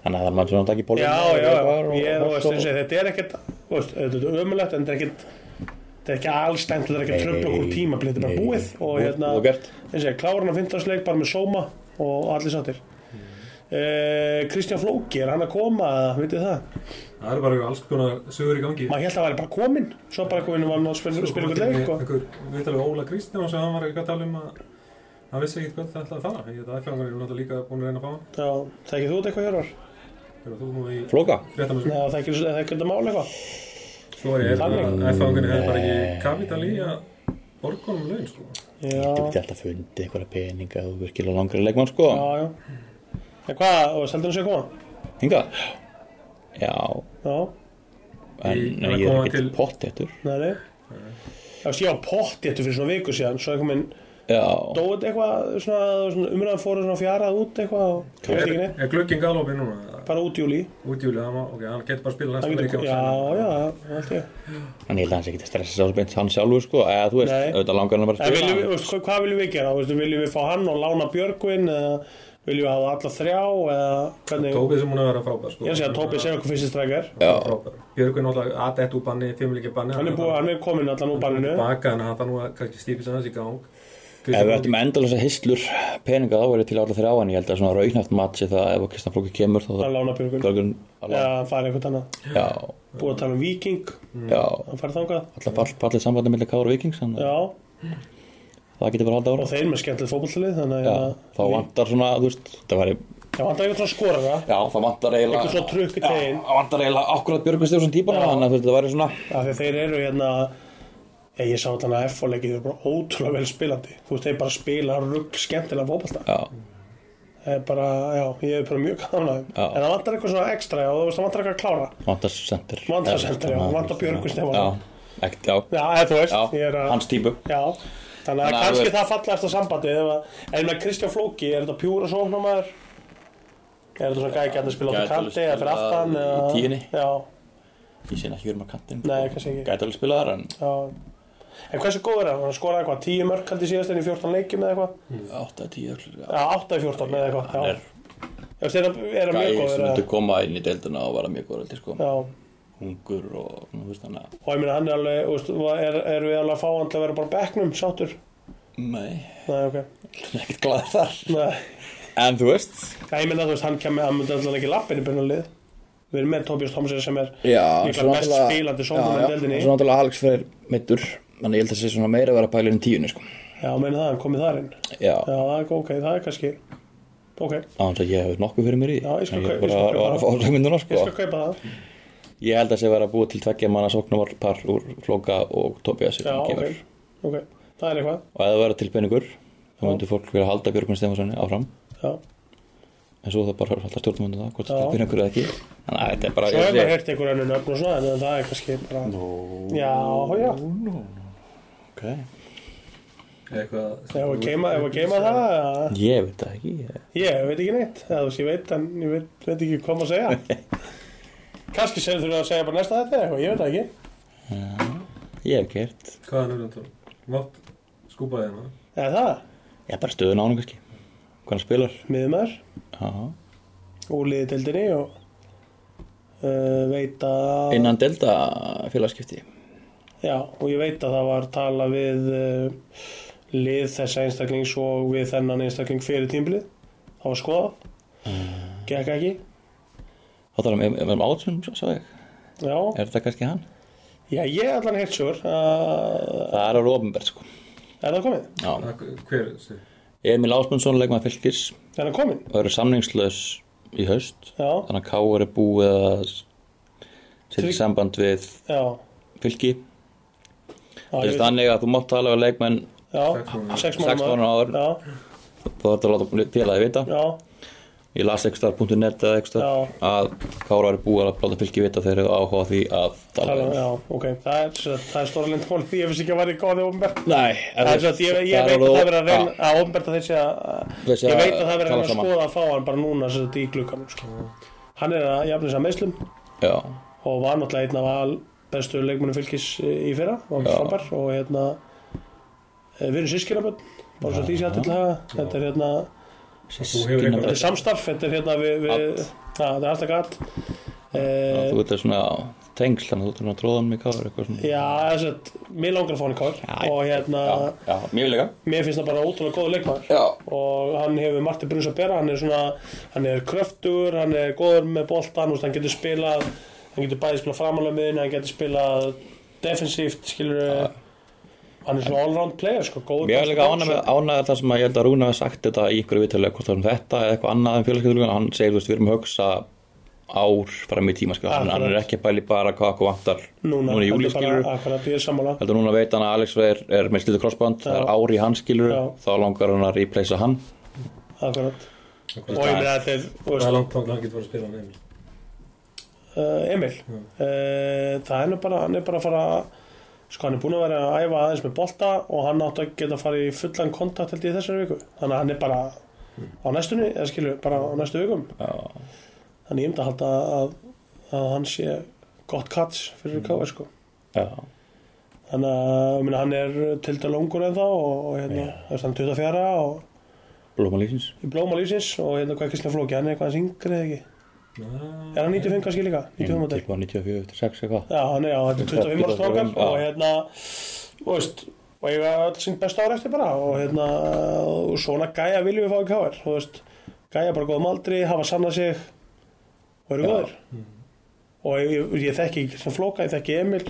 E: þannig að það er maður svona að taka pólununa
B: Já, já, ég, þú veist, eins og þetta er ekkert þú veist, þetta er ömulegt, en þetta er ekkert þetta er ekki allstæmt, þetta er ekki
E: Nei,
B: tröfla okkur
E: nei,
B: tíma, þetta er bara
E: nei.
B: búið og
E: Búið-
B: hérna,
E: búið gert.
B: eins og ég, klára hann að finna sleik bara með sóma og allir sattir
E: Mm.
B: eh, Kristján Flóki, er hann að koma eða, vitið það,
D: Það eru bara alls konar sögur í gangi
B: maður held að hann væri bara komin svo bara komin og var hann að spila spila ykkur um leik sko. og
D: Einhver, Við talaðum Óla Kristján og svo hann var eitthvað að tala um að hann vissi ekkert hvað það ætlaði að fara Ég þetta aðfjöngar er náttúrulega líka búin að reyna að fá hann
B: já, þekkið þú þetta eitthvað hjörvar?
D: Þegar þú nú í
E: flóka
D: fréttamössu
B: Já, þekkið þekkið þetta mál eitthvað?
D: Svo er ég
F: hérna,
D: held að
B: Þannig.
D: aðfjöngar hefði bara ekki kapital í að borga honum laun sko
E: Þú
B: Já,
E: getur alltaf fundið einhverja peninga ef þú virkilega langar í leikmann sko
B: já, já En hvað, og seldur hann sér að koma?
E: Hinga Já,
B: Já
E: en
D: Í-
E: nei,
D: að
E: ég er
D: koma
E: ekkert
D: til-
E: pottettur
B: Nei, nei. Ég var að stíða á pott fyrir svona viku síðan, svo einhvern veginn
E: já,
B: dóið eitthvað, svona, svona umræðan fóru svona fjarað út eitthvað og ég veit ekki neitt,
F: Er glugginn galopið núna?
B: bara út júli
F: Út júlið, það má, ok, hann getur bara að spila
B: hann
F: næsta
B: getur,
F: leik
B: já, já, já, allt ég
E: en ég held að hann sé ekki að stressa sér beint hann sjálfur sko, eða þú veist,
B: Nei.
E: auðvitað langar hann að
B: En
E: bara að
B: viljum við,
E: spila
B: veist, hvað, hvað viljum við gera? Veistu, viljum við fá hann og lána Björgvin eða viljum við hafa alla þrjá eða hvernig?
F: Tóbi sem hún er að vera frábær sko.
B: Ég er að segja að Tóbi segja okkur fyrst í strækjar
E: já,
F: frábær Björgvin náttúrulega að þetta úr banni, fimmleikja banni
B: Hann er, búið, hann er komin allan úr banninu
F: baka en hann þarf nú að kannski stífis aðeins í gang
E: ef við ættum endalasa hislur peninga þá verið til alla þrjá en ég held að svona raunhaft matsi það ef að Kristján Flóki kemur þá
B: Hann
E: þarf
B: lána Björgvin
E: Björgun að
B: Já,
E: láta-
B: hann farið eitthvað annað
E: já,
B: Búið að tala um Viking,
E: já,
B: hann farið þangað
E: alltaf fall, fallið sambandi millir Kára og Vikings, þannig
B: Já,
E: að það getur bara haldið ára
B: og þeir hérna, með skemmtilegt fótbolltalið Þannig
E: Já,
B: að
E: þá vantar svona, þú veist, það væri
B: Það vantar eitthvað svona skora það
E: Já, það vantar eiginlega
B: Eitthvað svona trukk í
E: Já,
B: teginn.
E: Það vantar eiginlega akkurat Björgvin Stefánsson típana
B: Já.
E: Þannig að þú veist, það væri svona
B: af því að þeir eru hérna ég, ég sá þannig að F-fólegi þeir eru bara ótrúlega vel spilandi þú veist þeir bara spila rugg skemmtilega fótballta
E: Já,
B: það er bara, já, ég er bara mjög gaman að þeim
E: Já.
B: en það vantar eitthvað svona ekstra já, þú veist það vantar eitthvað að klára
E: vantar sendir
B: Vantar center, já, vantar Björgvin Stefánsson.
E: Já, ekkert, já,
B: já, eða þú veist, ég
E: já,
B: er að
E: hans típu
B: já, þannig að
E: Þannig að þú
B: kannski
E: veist-
B: það fallast að sambandi ef að, en með Kristján Flóki, er þetta pjúra sóknamaður er þetta svona gæði gæti að spila út á
E: Gæti alveg
B: kanti eða fyrir
E: spilað
B: aftan
E: í
B: eða-
E: tíunni.
B: já,
E: Ég sé ekki um að kantinn
B: Nei, kannski ekki.
E: Gæti alveg spilað þar en
B: já en hversu góð er það, hann skoraði eitthvað 10 mörk haldi síðast inn í 14 leikjum eða eitthvað
E: 8, 10 öllur Já,
B: Já, 8 af 14 eða eitthvað
E: hann
B: já.
E: er
B: Ég veist, er það er það mjög
E: gæði
B: góður
E: sem
B: eða?
E: myndi koma inn í deildina og vera mjög góður heldur sko
B: Já,
E: Hungur og, þú veist, þannig að
B: og ég meina hann er alveg, þú veist, va- er, er við alveg að fá hann til að vera bara á bekknum, sáttur?
E: Nei,
B: Nei, ok.
E: hann er ekkert glaður þar
B: Nei,
E: En þú veist
B: Já, ég meina þú veist, hann kemur, hann myndi alltaf ekki lappin í byrjunarlið. Við erum með Tobias Thompson sem er
E: Já,
B: líklega
E: svo
B: best
E: náttúrulega-
B: spilandi
E: Já,
B: sóknarmann
E: já,
B: í deildinni.
E: Svo náttúrulega Alex Freyr meittur Þannig ég held að sé svona meira að vera pælir en tíunni sko
B: Já, meina það, hann komið þar inn.
E: Já,
B: Já, það er ok, það er kannski, ok,
E: á hans að ég hef nokkuð fyrir mér í því.
B: Já, ég skal
E: En
B: kaup-
E: bara
B: ég skal
E: var
B: kaupa
E: að fá
B: það.
E: hugmyndina
B: ég
E: sko
B: skal kaupa það.
E: Ég held að sé vera að búa til tveggja manna sóknumarpar úr Flóka og Tobias
B: Já,
E: sem
B: ok,
E: kemur
B: ok, það er eitthvað,
E: Og ef það vera til peningur þá
B: Já.
E: myndir fólk vera að halda Björgun Stefanssoni áfram
B: já.
E: En svo það bara að halda stjórnum undan það hvort það
B: Já.
E: er peningur eða ekki Þannig að þetta er bara
B: Svo hefur maður
E: ég
B: heyrt einhver ennur nöfn og svona, en það er kannski bara... No. Já, já,
E: sé
F: Eitthvað
B: ef að geima, ef að geima það, eða-
E: Ég veit það ekki ég-
B: Ég veit ekki neitt, eða þú veist, ég veit en ég veit, veit ekki hvað maður að segja Kanski segir þú að segja bara næsta þetta eða eitthvað, ég veit það ekki
E: Ég hef gert
F: Hvað er nörðan tón? Mátt skúpaði hérna
B: Eða það,
E: Ég er bara stöðun á hann kannski Hvað hann spilar
B: miðumar,
E: Já.
B: úr liði deildinni og uh, veit að
E: Innan delta félagskipti
B: Já, og ég veit að það var tala við uh, lið þessa einstaklings og við þennan einstakling fyrir tímblið Það var skoða,
E: Mm.
B: gekk ekki
E: Þá þarf hann um átsum, sá ég
B: Já,
E: Er þetta kannski hann?
B: já ég er allan heilt sjór að
E: Það er alveg ofinbært sko
B: Er það komið?
E: Já.
F: Hver, sí.
E: Emil Ásmundsson, leikmaður fylgis
B: Er það komið?
E: og eru samningslaus í haust
B: Já,
E: þannig að Káur er búið að setja í
B: Trygg-
E: samband við
B: já,
E: fylki
B: já ég
E: Þessi
B: veit-
E: þannig að þú mátt tala við leikmenn
B: Já,
F: Sex mánuðir.
B: sex
E: Sex
B: mánuðum
E: mánuðum áður.
B: Já,
E: þá þarf að láta félagi vita
B: já,
E: ég las ekstar.net eða ekstar
B: Já.
E: að Káur er búið að láta fylki vita þegar þau áhuga á því að tala
B: tala,
E: við hann
B: já, ok Það er, svo- það er stóra lindmál því ég finnst ekki að væri góði ofnbært
E: Nei,
B: Það er svo að ég, ég veit að það verið að reyna að ofnbært að þessi að
E: Þessi
B: ég
E: að
B: veit að það verið að
E: tala
B: reyna að
E: saman.
B: skoða að fá hann bara núna sem þetta í glukkanum sko. Hann er að jafna þess að meðslum
E: Já,
B: og var náttúrulega einn af al bestu leikmunum fylgis í fyrra og
E: Já.
B: frábær og hérna eh, við erum sískinabönd bara svo því sé að til haga þetta er hérna
F: Þú hefur
E: Skinna-
F: eitthvað
B: þetta er samstarf þetta er hérna við, við
E: Allt.
B: að, þetta er alltaf gatt
E: Já,
B: eh,
E: þú veit að svona tengsl þannig að þú þurfum að tróða hann með Káur eitthvað svona
B: Já, þess að mér langar að fá hann í kár
E: Já,
B: og hérna,
E: já, já, mjög leika
B: mér finnst það bara ótrúlega góður leikmaður
E: Já,
B: og hann hefur Marti Bruns að bera, hann er svona hann er kröftur, hann er góður með boltan veist, hann getur spilað, hann getur bæði spilað framalega miðin, hann getur spilað defensíft, skilur hann er svona allround player, sko, góður
E: Mér er
B: besti
E: líka
B: boxer.
E: ánægð ánægð það sem að ég held að Rúna hafi sagt þetta í einhverju viðtölu hvort það er um þetta eða eitthvað annað en félagskeiðurlugan hann segir, þú veist, við erum að hugsa ár fram í tíma, skil, hann, hann er
B: Akkurat.
E: ekki að bæli bara hvað okkur vantar
B: núna,
E: núna í júli,
B: heldur bara-
E: skilur
B: akkurat, ég er sammála
E: heldur núna veit hann að Alex Freyr er með slítið krossband, það er
B: Já.
E: ár í hann, skilur
B: Já.
E: þá langar hann að replacea hann
B: akkurat.
F: Hvað
B: og ég meina þetta er þú
F: er
B: veist,
F: langt þangað hann getur verið að spila með Emil?
B: Eh, uh, Emil uh, það er nú bara, hann er bara að fara að sko hann er búin að vera að æfa aðeins með bolta og hann átt að geta að fara í fullan kontakt held ég í þessari viku þannig að hann er bara á næstunni eða skilur bara á næstu vikum
E: Já,
B: þannig ég myndi að halda að, að hann sé gott kats fyrir mm. KV sko
E: já,
B: þannig að ég meina, hann er til dæla ungur en þá og, og hérna,
E: Já.
B: yeah. hann er 24 og
E: blóma lífsins
B: í blóma lífsins og hérna hvað er Kristján Flóki, hann er eitthvað hans yngri eða ekki
F: Ná,
B: er hann 95 kannski líka, 95 mótel
E: 94, 96 eitthvað
B: Já, hann er, já, þetta er 25 ára strákar
E: um, Já.
B: og hérna, þú veist og ég var alls sín besta ára eftir bara og hérna, og svona gæja viljum við fá í káir, þú veist gæja bara góðum aldri, hafa sannað sig og eru
E: Já.
B: góður og ég, ég, ég þekki ekki sem flóka, ég þekki Emil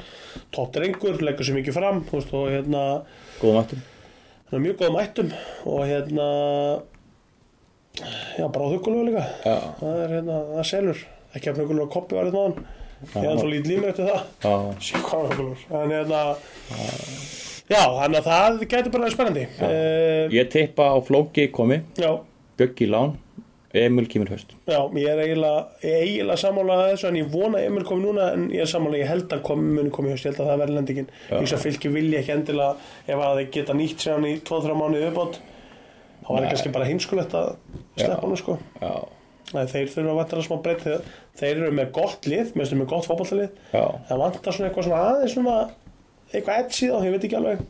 B: topp drengur, leggur sér mikið fram þú veist, og hérna,
E: Góðum aftur
B: hann er mjög góðum ættum og hérna já, bara áhugulega líka
E: Já,
B: það er hérna, það selur ekki að mjög gulega koppi var hérna á hann ég er þá lítið límið eftir það
E: já,
B: Sjökkárakökulur Þannig að hérna, Já, þannig að það getur bara verið spennandi uh,
E: Ég tippa á Flóki komi,
B: Já,
E: Bjöggi Lán Emil kemur höst
B: já, ég er eiginlega, ég er eiginlega sammála að þessu en ég vona að Emil komi núna en ég er sammála ég held að komi muni komi í haust, ég held að það verði lendingin Ég veist að fylki vilja ekki endilega ef að þeir geta nýtt sér hann í 2-3 mánuði uppátt þá var það kannski bara heimskulegt að
E: Já.
B: sleppa hann sko
E: Já,
B: Nei, þeir þurfa að vantara smá breytt þegar þeir eru með gott lið, með með gott fótballtalið
E: já,
B: það vantar svona eitthvað svona aðeins svona eitthvað edsi þá, ég veit ekki alveg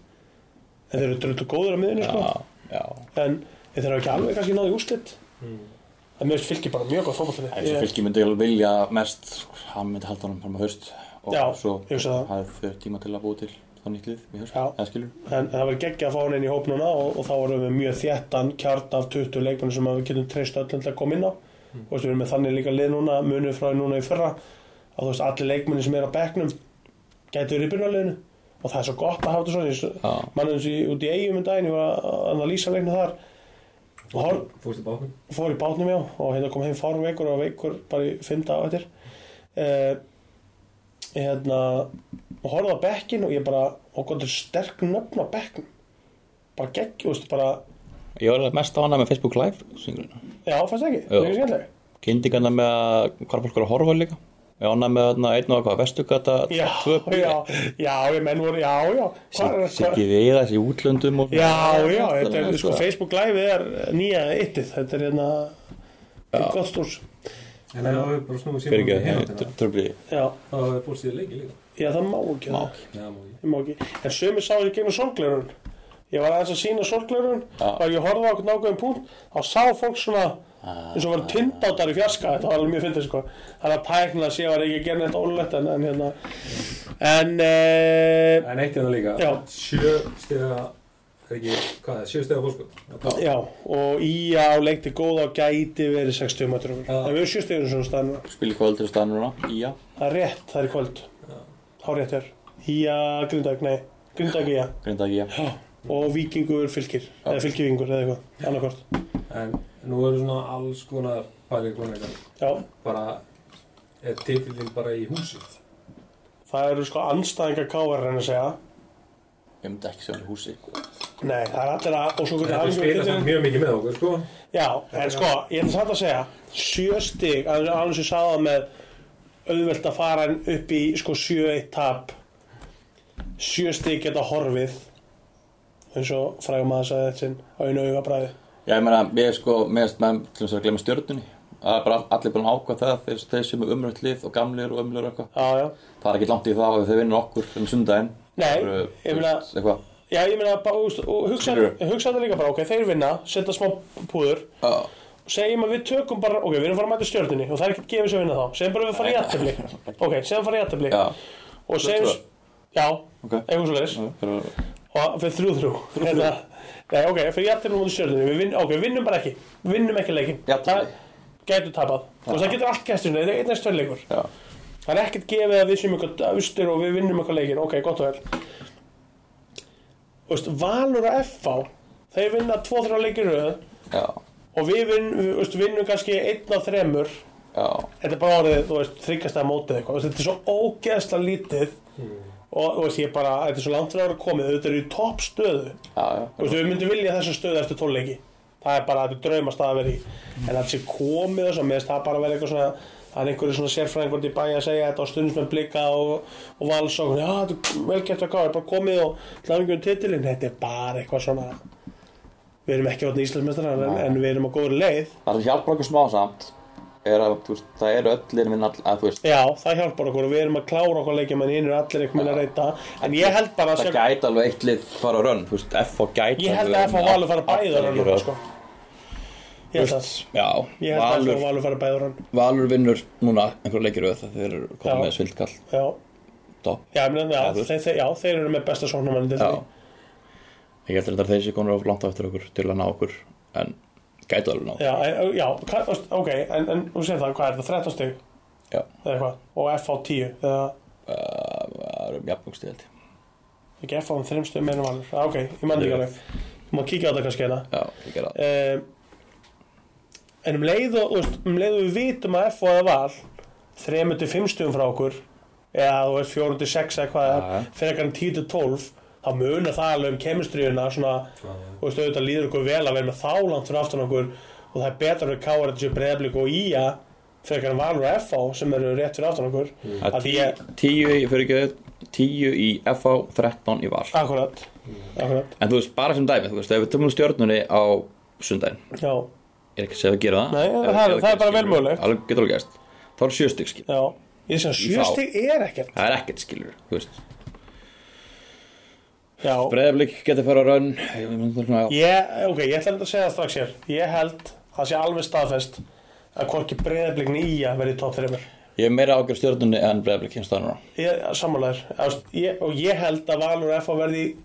B: en þeir eru dröndu góður á miðunni
E: já,
B: sko.
E: já
B: en þeir eru ekki alveg kannski náði úrslit en mér finnst fylgir bara mjög gott fótballtali
E: Mm. Þessi
B: ég,
E: fylki myndi alveg vilja mest hann myndi halda honum fram á höst og
B: Já,
E: svo
B: ég hugsa það.
E: hafði þau tíma til að búa til þá nýtlið í höst,
B: Já.
E: eða skilur
B: en það verður geggja að fá hann inn í hóp núna og, og þá erum við mjög þjættan kjarn af 20 leikmenn sem að við getum treyst öllum til að koma inn á og þú veist, við erum með þannig líka lið núna munið frá því núna í fyrra að þú veist, allir leikmenni sem er á bekknum gætu verið í byrjarleginu og það er svo gott að hafa þetta svona Ég-
E: Já,
B: mannum sem út í eigum um daginn, ég var að analýsa leikna þar og hor,
F: fórstu bátnum
B: fór í bátnum já og hérna kom heim fárum veikur og var veikur bara í fimm dag á eftir eh, hérna og horfði á bekkin og ég bara og gott er sterk nöfn á bekkin bara gegg, úst, bara
E: ég var alveg mest ánægð með Facebook Live singurinn.
B: já, fannst það ekki,
E: Jú.
B: það er ekki skemmtileg
E: kynningarna með að hvað fólk er að horfa líka ég ánægð með þarna einn og eitthvað vestugata
B: já, já, já, ég menn voru, já, já Hvar- hvar-
E: Siggi Viðas í útlöndum og-
B: Já, já, þetta er,
E: Þannig að
B: sko, Facebook Live er nýja yttið, þetta er hérna þetta er gott stúrs,
F: En það var bara snúið síma
E: fyrirgeðu, tröfli
B: já,
F: Það var fórstu í leiki líka
B: já, það má ekki
E: Má
B: það.
E: ekki.
F: Já, má ég
B: Ég má ekki. En sömur sá þessu gegnum sorgleirun. Ég var aðeins að sína sorgleirun
E: Já.
B: og ég horfði á okkur nákvæm punkt þá sá fólk svona
E: Ah.
B: eins og var tindátar í fjarska þetta var alveg mjög fyndið sko þannig að tækna sé var ekki að gera neitt ólulegt en, en hérna en e,
F: En eitt en það líka
B: Já.
F: Sjö stega Það er ekki, hvað er, það? sjö stega fórskot
B: já og í á leikti góða og gæti verið 60 mætur okkur
F: Já.
B: en við erum sjöstegjum svona staðinu
E: spil í kvöldur og staðan núna í já,
B: það er rétt það er í kvöld þá rétt er í að grindag nei grindag í að
E: grinda ekki já
B: og vikingur fylgir eða fylgivingur eða eitthvað annarkvort
F: En nú eru svona alls konar pælir konar
B: já
F: Bara er titillinn bara í húsið
B: Það eru sko anstæðingar káar en að segja
E: ég myndi ekki sjá hann í húsi
B: Nei, það er allir að og svo hvernig
F: Þetta
B: hann
F: spila samt mjög mikið með okkur, sko
B: Já, en sko, ég ætla samt að segja sjö stig, að- aðeins ég sagði það með auðvelt að fara hann upp í sko 7-1 tap sjö stig geta horfið eins og frægum aðeins að þetta sinn á einu augabræði
E: já, ég meina, ég sko, meðast með til þess að glemma stjörnunni það er bara allir búin að ákvað það þeir, þeir sem er umrönt lið og gamlir og umlur og eitthvað
B: Já, já
E: það er ekki langt í það að þeir vinnur okkur um sundaginn
B: Nei,
E: Þeir eru,
B: ég meina-
E: þú veist, eitthvað
B: Já, ég meina, bara, úst, og hugsa,
E: Skilurðu?
B: hugsa þetta líka bara, ok, þeir vinna, setja smá púður
E: Já.
B: segjum að við tökum bara, ok, við erum fara að mæta stjórnunni og það er ekki gefið sem vinna þá, segjum bara að við fara í aðtöfli ok, segjum fara í aðtöfli
E: já,
B: og segjum,
E: tvö.
B: já,
E: ok
B: eitthvað svo leiðis
E: Það er-
B: og fyrir þrjú þrjú, hérna nei, ok, fyrir jættilum mútið stjórnunni, við vinn, ok, við vinnum bara ekki við vinnum ekki leikin,
E: Jafntefli.
B: gætu tapað og það getur allt gæstur, þetta er einn eða leikur
E: já,
B: það er ekkert gefið að við séum eitthvað austur og við vinnum eitthvað leikin, ok, gott og vel Þú veist, Valur og FH þeir vinna 2-3 leikir í röð
E: já,
B: og við vinn, við, veist, vinnum kannski 1 af 3
E: já
B: þetta er bara orðið, þú veist, þryggjast að mótið eitthvað, þú veist, þetta er svo ógeðslega lítið og þú veist, ég bara, þetta er svo langt frá að komið, þetta er í topp stöðu þú
E: Já, já,
B: veist, við myndum vilja þessa stöðu eftir tólleiki það er bara, þetta er draumast að vera í en að þetta sé komið og svo, mér finnst það bara að vera eitthvað svona það er einhverju svona sérfræðingur í bæ að segja þetta og stundum með blika og, og vals og já, þetta er velkjæft að káður, bara komið og hlæðingjum titilinn, þetta er bara eitthvað svona við erum ekki átni Íslandsmestrar en,
E: Nei.
B: en við erum á góður leið
E: Það sem hjálpar okkur smá samt er að þú veist, það eru öll liðin minn all, að þú veist,
B: já, það hjálpar okkur og við erum að klára okkur leikjum en hinn er allir eitthvað minna að reyta en ég held bara að
E: það
B: sjá
E: gæti alveg eitt lið fara á rönn, þú veist, F og gæti
B: ég held að F á Valur fara bæður hann núna, sko. ég held að
E: Já,
B: ég held að F á
E: Valur,
B: Valur fara bæður hann
E: Valur vinnur núna einhverja leikir auðvitað, þeir eru komið
B: Já.
E: með svildkall
B: já,
E: topp,
B: já, ég meina,
E: Já,
B: já,
E: þú veist.
B: þeir, þeir, já, þeir eru með besta sóknarmann
E: já Ég held að þeir sé konur of langt á eftir okkur til að ná okkur, en gæti alveg ná
B: Já, en- já, hvað- þú veist, ok, en, en þú sér það, hvað er það, 13 stig?
E: Já.
B: Eða eitthvað, og F á 10, eða
E: Eh, Það eru jafnvöngst, ég held ég
B: ekki F um á 3 stig meðan valur. Já, ok, ég mann ekki
E: Já.
B: alveg. Ég má kíkja á það kannski hérna.
E: Já, ég gera það
B: Um, en um leið og, þú veist, um leið og við vitum að F á eða val, 3-5 stigum frá okkur, eða þú veist, 4-6 eða hvað það
E: Já,
B: er, frekar en 10-12, þá munar það alveg um kemistriðuna, svona, og veist, auðvitað líður okkur vel að vera með þá langt fyrir aftan okkur og það er betra fyrir káar þessu breyðablík og ía frekar en valur og FH sem eru rétt fyrir aftan okkur
E: Það
B: að ég,
E: er tíu í fyrirgjöðu, tíu í FH, 13 í Val
B: akkurat
E: Mm.
B: akkurat,
E: En þú veist, bara sem dæmi, þú veist, ef við tömum stjörnunni á sundaginn
B: já,
E: Ég er ekki að segja að gera það
B: Nei,
E: Ef-
B: það
E: ef
B: er- það er
E: gerist,
B: bara vel
E: skilur,
B: mögulegt.
E: alveg- Getur alveg gæst Þá er sjöstig skil
B: já ég sé að
E: Í þá.
B: sjöstig er ekkert
E: Það er ekkert skilur, þú veist
B: já,
E: Breiðablik getur fara á raun Ég myndi svona að-
B: ég, ok, ég ætla að segja það strax hér ég held að það sé alveg staðfest að hvorki breyðablíkni ía verið tótt þreymur
E: Ég er meira ágjör stjörnunni en breiðablik hins það núna
B: sammálaður, og ég held að valur og FH verði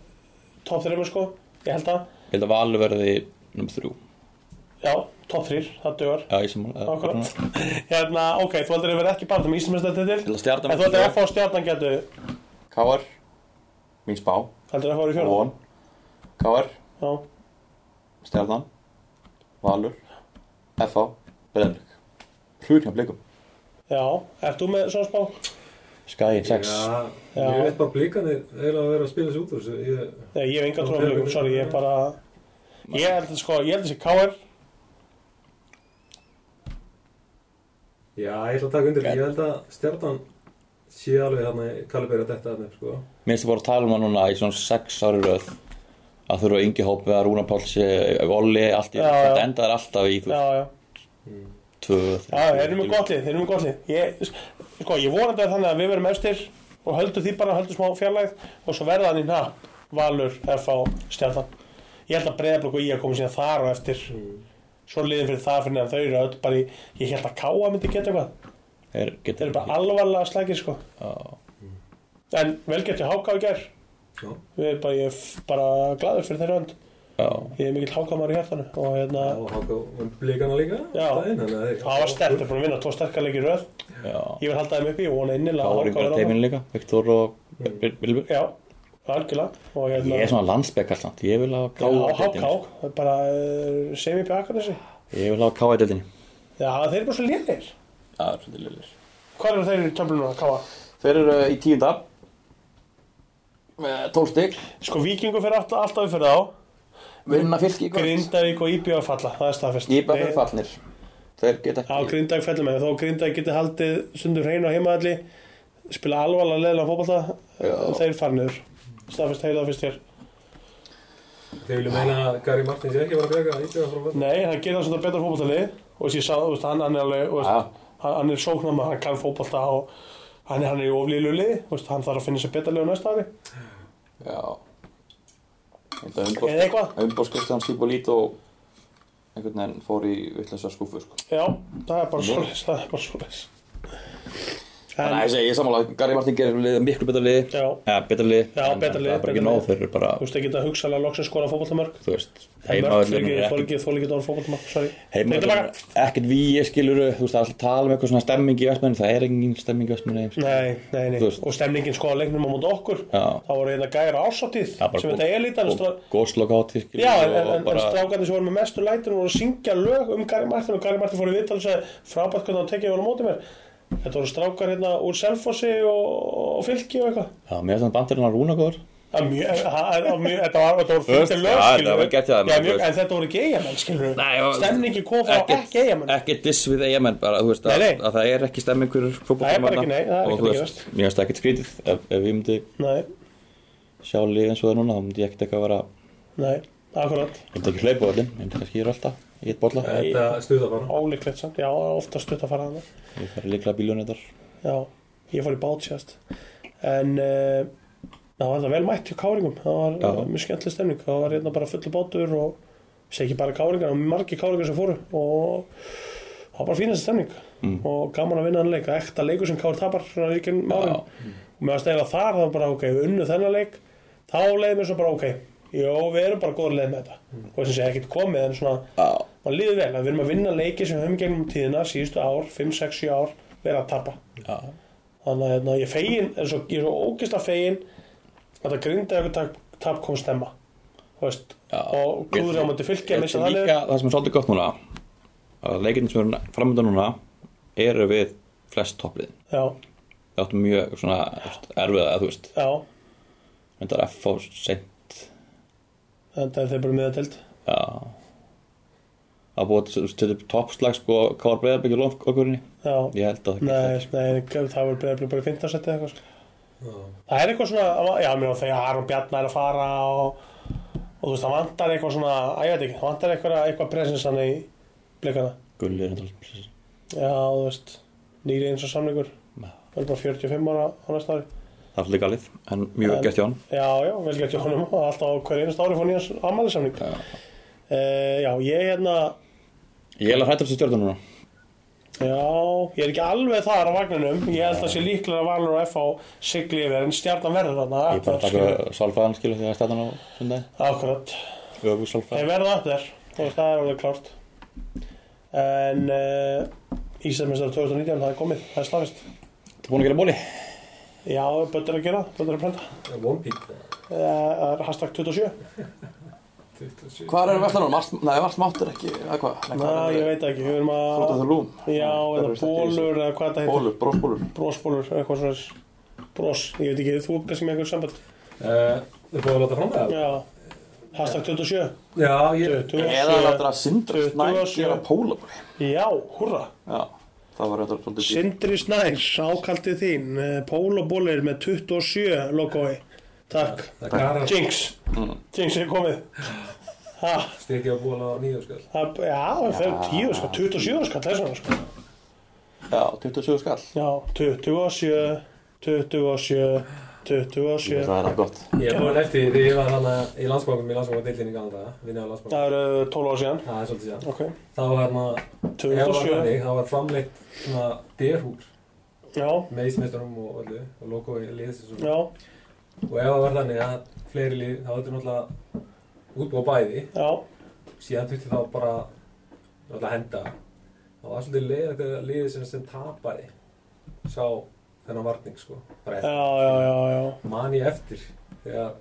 B: tótt þreymur sko, ég held að
E: Ég held að Valur verði nummer þrjú
B: já, tótt þrýr, það dögur
E: Já, ég sem að
B: Akkurat. Hérna, ok, þú heldur að vera ekki bara um Íslandsmestatitil
E: Ég held að stjarnan
B: En þú heldur að FH og Stjarnan getu
E: Káar Mín spá
B: Heldur að FH er í fjörðan
E: Von Káar
B: Já,
E: Stjarnan Valur FH Breiðablik Hrjúrnjá blikum
B: já, ert þú með svona spá?
E: Skæin 6
D: Já,
B: Já.
D: ég veit bara blikanir eiginlega að vera að spila sig út úr þessu. Ég,
B: Nei, ég hef enga
D: Já,
B: trúanleikum,
D: ok.
B: sorry, ég er bara Ég held að sko, ég held að sé KR
D: já, ég ætla að taka undir. Ég held að stjarnan sé alveg hérna í kalibera þetta hérna, sko.
E: Mér finnst það bara að tala um það núna í svona sex ári röð að þurfa yngi hópi að Rúna Pálsi, Olli, allt í
B: Já, já.
E: þetta endaðir alltaf í þú
B: Já,
E: veist,
B: já,
E: tvö,
B: já, þeir eru með gott lið, þeir eru með gott lið Ég, sko, ég vonandi að þannig að við verum efstir og höldum því bara, höldum smá fjarlægð og svo verða hann í hnapp Valur, FH, Stjarnan Ég held að Breiðablík og ég komið síðan þar og eftir
D: Mm.
B: Svo liðin fyrir það fyrir neðan þau eru öll bara í, ég held að Káa myndi geta eitthvað
E: þeir
B: Þeir
E: getur
B: eru
D: Mm.
B: bara alvarlega slækir sko En vel gert ég háká í gær
D: Já.
B: Við erum bara, ég er bara gladur fyrir þeirra hönd
E: Já,
B: Ég er mikill hákámaður í hjartanu Og hérna,
D: Já, og haka um blikana líka.
B: Já.
D: daginn, þannig að þeir-
B: það var sterkt, er búin að vinna tvo sterkar leikir í röð
E: já,
B: Ég vil halda þeim uppi, ég vona innilega að
E: Káringar
B: verði áfram.
E: teiminn líka, Viktor og Vilbjörn
B: Já, algjörlega Og
E: Ég er
B: hérna,
E: svona sko. landsbekk alltaf, ég vil hafa
B: já,
E: Káa í
B: háká
E: deildinni,
B: það er Bara uh, sem upp í Akadesi
E: sko. Ég vil hafa Káa í deildinni
B: Já, þeir eru bara svo lélir
E: Já, það er svolítið liðlir
B: Hvað eru þeir í töflunum að káa?
E: Þeir eru eh, í tíunda með tólf stygg
B: Sko, Víkingur fyrir alltaf, alltaf fyrir þá
E: vinna fylki í kvöld
B: Grindavík og Íbjá falla, það er staðfest
E: Íbæð
B: Nei,
E: fyrir fallnir Þeir geta
B: Já,
E: ekki
B: Grindag fellur með þó Grindag geti haldið sundur hreinu á heimaðalli spila alvarlega leðilega fótballta
E: Já.
B: þeir farniður staðfest heila fyrst hér
D: Þeir vilja meina að Gary Martin sé ekki að vera að bjaka íbjöða frá vatn.
B: Nei, hann gerir það svona betra fótballtali og þess ég sá, þú veist, hann, hann er alveg þú veist,
E: Já.
B: hann, hann er sóknama, hann kann fótballta og hann, er- hann er í oflílu liði þú veist, hann þarf að finna sér betra liðu næsta ári
E: Já Ég held að umboð
B: eða eitthvað,
E: Umbórs Kristján Stíbolít og einhvern veginn fór í vittlösa skúfu sko.
B: já, það er bara
E: Mhm.
B: svoleiðis það er bara svoleiðis
E: Þannig að
B: en,
E: ég segi, ég er sammála, Gary Martin gerir lið, miklu betra lið
B: já,
E: ja, betra lið,
B: Já,
E: en
B: betra lið,
E: það er bara ekki
B: betra
E: nóg
B: lið.
E: þeir eru bara,
B: þú veist, það geta hugsalega loksins skora fótballtamörk
E: þú veist
B: mörk,
E: heimavöllurinn er ekkert-
B: þólkið, þólkið dór fótballtamörk, sorry Nei,
E: heimavöllurinn
B: tilbaka.
E: er ekkert víi skilur þú veist, það er alltaf að tala um eitthvað svona stemming í vestmenni það er engin stemming í vestmenni sko.
B: Nei, nei, nei,
E: Þú veist.
B: og stemningin sko að leiknum á móti okkur
E: Já.
B: þá voru hérna gæra ársáttíð
E: Það er bara
B: sem
E: gó-
B: þetta er lítan strá...
E: og góðslokkátt
B: Já, en, en, en strákarnir sem voru með mestu lætur voru að syngja lög um Gary Martin og Gary Martin fór í viðtal og sagði frábært hvernig hann tekið vel á móti mér Þetta voru strákar hérna úr Selfossi og, og Fylki og eitthvað
E: já, mér finnst þannig bandurinn að rúna góður
B: Það er mjög- það er- það er mjög- Þetta var, þetta voru fyrir
E: Öst,
B: lög,
E: já,
B: skilur
E: þetta var gett hjá þeim,
B: Já,
E: þú
B: mjög,
E: veist.
B: en þetta voru ekki eigamenn, skilur
E: Nei, já,
B: Stemningi kom frá ekki eigamenn
E: ekki diss við eigamenn bara, þú veist,
B: Nei,
E: að,
B: nei.
E: að það er ekki stemming fyrir
B: Það er
E: fótboltamanna
B: bara ekki, nei, það er
E: og
B: ekki
E: þú
B: að
E: veist, mér finnst það ekkert skrítið ef, ef ég myndi
B: Nei,
E: sjá lið eins og það er núna, þá myndi ég ekkert eitthvað að vera ég
B: nei, akkurat
E: myndi ekki hlaupa á öllin, ég myndi kannski gera alltaf ég get bolla,
C: Þetta stuða bara.
B: Ólíklegt samt, já, ofta stutt að fara hana
E: ég fari líklega bíljónu þar
B: Já, ég fór í bát síðast En uh, það var það vel mætt hjá káringum Það var
E: Já.
B: já. mjög skemmtileg stemning Það var hérna bara fullu bátur og ég segi ekki bara káringar, það var margir káringar sem fóru og það var bara fínast stemning
E: Mm.
B: og gaman að vinna hann leik ekta leikur sem kári tapar svona líkin márin og með að stæla þar, það var bara ok, við unnu þennan leik þá leiði mér svo bara ok Jó, við erum bara góður leið með þetta og þess að segja ekkert komið en svona
E: já,
B: mann líður vel að við erum að vinna leiki sem við höfum í gegnum tíðina síðustu ár, 5, 6, 7 ár vera að tapa
E: já,
B: þannig að hérna, ég er fegin er svo, ég er svo ógisla fegin að það grinda ykkur tap, tap kom stemma Þú veist,
E: já
B: og klúður á móti fylgja
E: Ég
B: missa
E: held
B: það
E: líka
B: niður.
E: það sem er svolítið gott núna að leikirnir sem eru framönda núna eru við flest topplið
B: já,
E: það áttu mjög svona þú veist, erfiða þú veist,
B: já,
E: myndar F og sent
B: þetta er þeir bara miðatild
E: já að búið til- til upp toppslag sko hvað var breyðarbyggjur lofkokkurinni
B: já,
E: ég held að það
B: nei, nei, það var bara, bara fint að setja eitthvað sko.
C: Já.
B: það er eitthvað svona, já, mér og þegar Aron Bjarnar er að fara og, og þú veist, það vantar eitthvað svona, að ég veit ekki, það vantar eitthvað, eitthvað presens hann í blikana
E: Gulli er þetta
B: já, þú veist, nýri eins og samlingur
E: Já.
B: það er bara 45 ára á næsta ári
E: það er líka galið en mjög
B: En-
E: gert hjá hann
B: Já, já, vel gert Jónum og alltaf á hverju einast ári fór nýjans ammælisamning
E: Já.
B: já. já, ég hérna
E: ég held að hrættur þessu stjórnum núna
B: Já, ég er ekki alveg þar á vagninum Ég held að sé líklega að Valur og FH sigli yfir en stjarnan verður þarna
E: ég er bara að taka
B: sko.
E: sálfræðan skilu þegar stæðan á sundagi
B: Akkurat,
E: öfu sálfræðan
B: þeir verða aftur og það er alveg klárt En uh, Íslandsmeistar 2019, það er komið, það er staðist
E: þú búin að gera bóli
B: Já, böttur að gera, böttur að prenta
D: One Peak
B: Eh, Það er hashtag 27
G: Hvar eru Vestlanum? Nei, Vestmáttur ekki, eða hvað?
B: Næ, ég veit ekki, við erum
G: Þótt að
B: að
G: það lúm
B: Já, eða bólur eða hvað þetta heitir
G: Bólur, brósbólur
B: brósbólur, eitthvað svona brós, ég veit ekki, þú er kannski með einhver samband
C: Eh,
D: Þið búið að láta fram það?
B: já, hashtag 27
D: Já, ég
B: 27.
G: Eða láttur að Sindra
B: Tuttugu
G: Snær
B: og sjö.
G: gera pólabóli
B: já, húrra,
G: Já, það var reyndar svolítið dýrt.
B: Sindri Snær ákaldið þín, eh, Pól og Bólir með 27 logoi, takk
D: Það garar
B: Jinx, Jinx er komið ha,
D: stekja að búið að láta nýju sko. skall
B: það, já, það er 10 sko, 27 sko, það er svona sko
G: Já, 27 skall
B: já, 27 27 27
G: Það er það gott
D: Ég er búin eftir því ég var hana í landsbankum í landsbankadildinni í gamla daga Vinna á landsbankum
B: það eru 12 ára síðan
D: Það er svolítið síðan
B: ok,
D: Þá var hana Ef var
B: 27
D: þannig, þá var framleitt svona derhúr
B: já,
D: með ísmeisturum og öllu og logo í liðsins og,
B: já,
D: og ef það var þannig að fleiri lið þá þetta náttúrulega útbúa bæði
B: já
D: síðan þurfti þá bara náttúrulega að henda það var svolítið leið, liðið sem, sem tapaði sá þennan varning sko bara eftir,
B: já, já, já, já.
D: man ég eftir þegar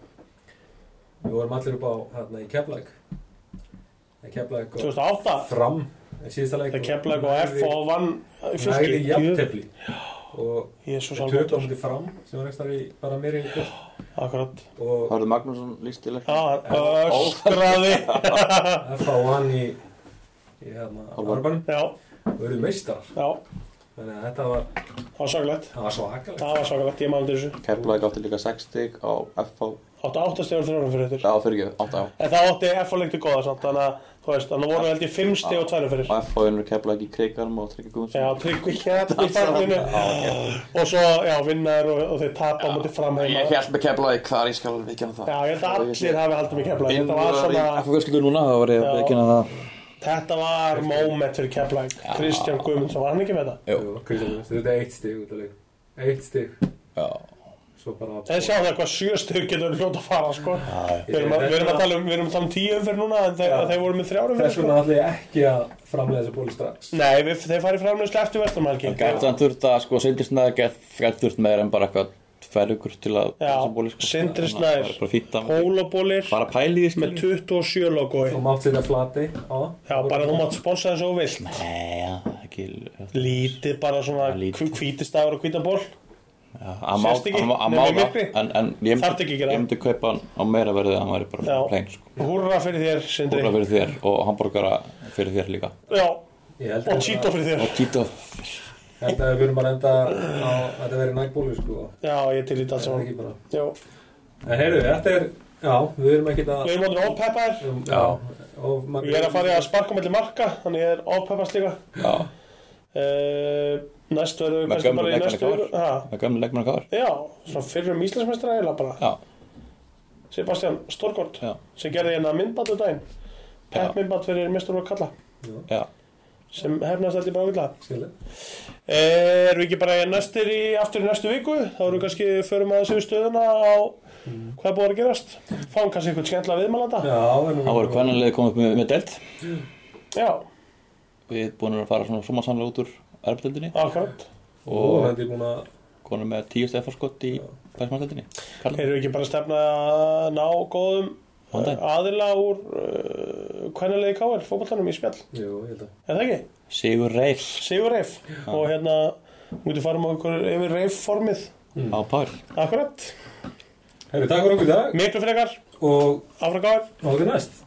D: við vorum allir upp á hérna í Keflæk Keflæk og
B: 2008
D: fram í síðasta leik
B: þegar Keflag og F og vann í
D: fylgji
B: fylki
D: jafntefli og
B: Jésús
D: Við töpum
B: alveg
D: þetta fram sem var ekstra í bara mér í kvöld
B: akkurat
D: og
G: Hörðu Magnússon líst í leik
B: já, hann öskraði
D: F.A.1 í, í hérna Orbanum
B: já,
D: og verið meistar
B: já,
D: þannig að þetta var,
B: það var svakalegt
D: það var svakalegt
B: það var svakalegt, ég maður þessu
G: Keflæk átti líka 6 stig á FH
B: áttu áttastegur þrjónum fyrir þetta
G: Já, fyrir ekki, 8 á
B: en það átti F og leikti góða samt þannig að þú veist, þannig voru held ég fimmsti og tværum fyrir
G: Og FH vinnur Keflæk í kriganum og tryggja
B: já,
G: Guðmundsson
B: tryggvi hérna í faginu og svo, já, vinnar og, og þeir tapa á móti fram heima
G: Ég
B: já,
G: held með Keflæk þar, ég skal alveg ekki það
B: ég held að allir hafi haldið mig Keflag þetta var svona
E: FF fjölskyldur núna þá var ég
B: Já.
E: að kynna það
B: Þetta var moment fyrir Keflæk Kristján Guðmundsson, var hann ekki með það?
D: Jú, Kristján Guðmunds, þetta er eitt stig út af leik eitt stig
E: já,
D: svo bara
B: En sjáðu það hvað sjö stug getur hljóta að fara sko. við, erum að, við, erum að tala um, við erum að tala um tíu umferð núna en þeir,
D: Já.
B: þeir voru með þrjárum fyrir
D: þess
B: sko.
D: vegna ætla ég ekki að framlega þessu bóli strax
B: Nei, við, þeir farið framlega eftir vestamælgi
E: gætt þann þurft að sko sindisnaði gætt þurft meira en bara eitthvað tvær ykkur til að
B: Já,
E: þessa bóli,
B: Sindri
E: Þannig að það
B: Snær.
E: er bara fýtt að
B: Pólabólir
E: bara pæli því
B: með
E: skilur
B: 27 logoi
D: og mátt setja flati á
B: Já, bara þú mátt sponsa þessu og vilt
E: nei, já, ekki
B: Lítið bara svona
E: Já, lítið.
B: hvítistafur og hvítaból
E: Hann má-
B: Sést ekki,
E: hann má- hann
B: nema
E: má
B: í myrkri.
E: það, en, en ég
B: Þarft ekki
E: myndi,
B: að gera.
E: ég myndi kaupa hann á meira verðið að hann væri bara
B: Já.
E: plain sko.
B: Húrra fyrir þér, Sindri
E: Búrra fyrir þér og hamburgara fyrir þér líka
B: Já,
F: Ég held
B: og
F: að,
B: Cheeto fyrir þér
E: og Tito
F: held að við fyrir bara að enda á að þetta verið nægbólu sko.
B: Já, ég til í þetta
F: Það er
B: allt saman
F: ekki bara.
B: Já.
F: En heyrðu, þetta er, já, við erum ekki að...
B: Ég er mótin ofpeppar
F: Já. Og
B: Ég er að fara í að sparka mellir marka Þannig ég er ofpeppast líka
E: Já,
B: uh, Næst verður við
E: Með
B: kannski
E: gömlu
B: bara í
E: leikmanni
B: næstu
E: KR.
B: viku. Ha,
E: það er gömlega leikmann að káður
B: Já, svona fyrrum Íslandsmeistra eiginlega bara
E: Já,
B: Sebastian Stórgård
E: Já.
B: sem gerði hérna myndband um daginn
E: Já.
B: Pepp myndband fyrir mestur og kalla
E: já,
B: sem hefnast held ég bara vilja
F: Skilja.
B: Eh, Erum við ekki bara næstir í aftur í næstu viku þá erum við kannski förum aðeins yfir stöðuna á hvað er búið að gerast fáum kannski einhvern skemmtilega viðmælanda
F: Já, en
E: það voru kvennanlega komið upp með, með delt
B: Já,
E: Við búin að fara svona sómasamlega út úr erfdeldinni
B: akkurat
F: Og
E: og
F: hann er búin að...
E: konum með tíu stefarskott í bæsmannsdeldinni
B: Erum við ekki bara að stefna að ná góðum eh,
E: Góðan daginn.
B: aðila úr uh, kvennalegi káir fókbaltanum í spjall,
F: Jú, ég held að...
B: er það ekki?
E: Sigur Reif
B: Sigur Reif og hérna mútið fara með okkur yfir Reif formið
E: á pár
B: Akkurat,
F: Heyrðu, takk fyrir okkur í dag
B: miklu frekar
F: og
B: Áfram gáður
F: á því næst.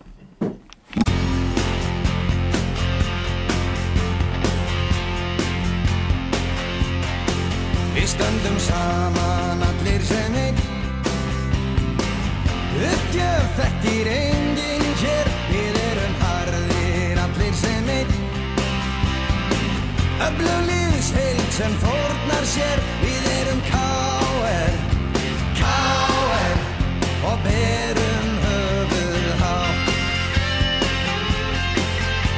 A: Við stöndum saman allir sem einn Uppgjöf þekkir enginn hér Við erum harðir allir sem einn Öflug liðsheild sem fórnar sér Við erum K.R. K.R. Og berum höfuð hátt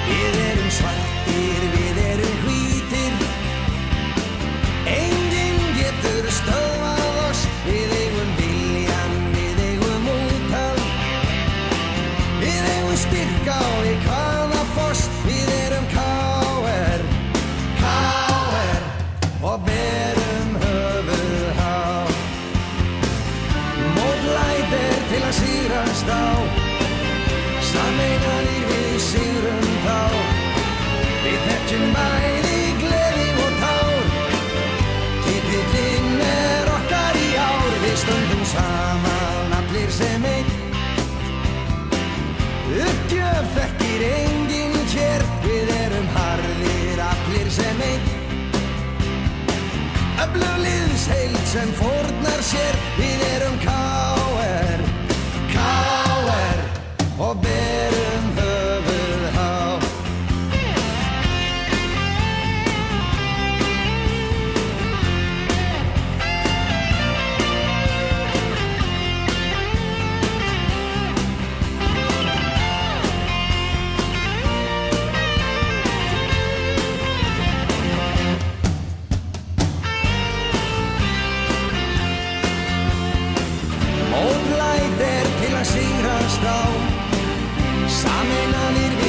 A: Við erum svartir, við erum hvítir Enginn getur stöðvað oss Við eigum viljan, við eigum útal Við eigum styrka og í hvaða foss Við erum K.R. K.R. Og berum höfuð há Mótlæt er til að sírast á Sameinanir við sírum þá Við þekkjum bæði gleði og tár Titillinn er okkar í ár, við stöndum saman allir sem einn. Uppgjöf þekkir enginn hér, við erum harðir allir sem einn. Öflug liðsheild sem fórnar sér, við erum K.R. K.R. og berum höfuð hátt. Mótlæt er til að sigrast á Sameinanir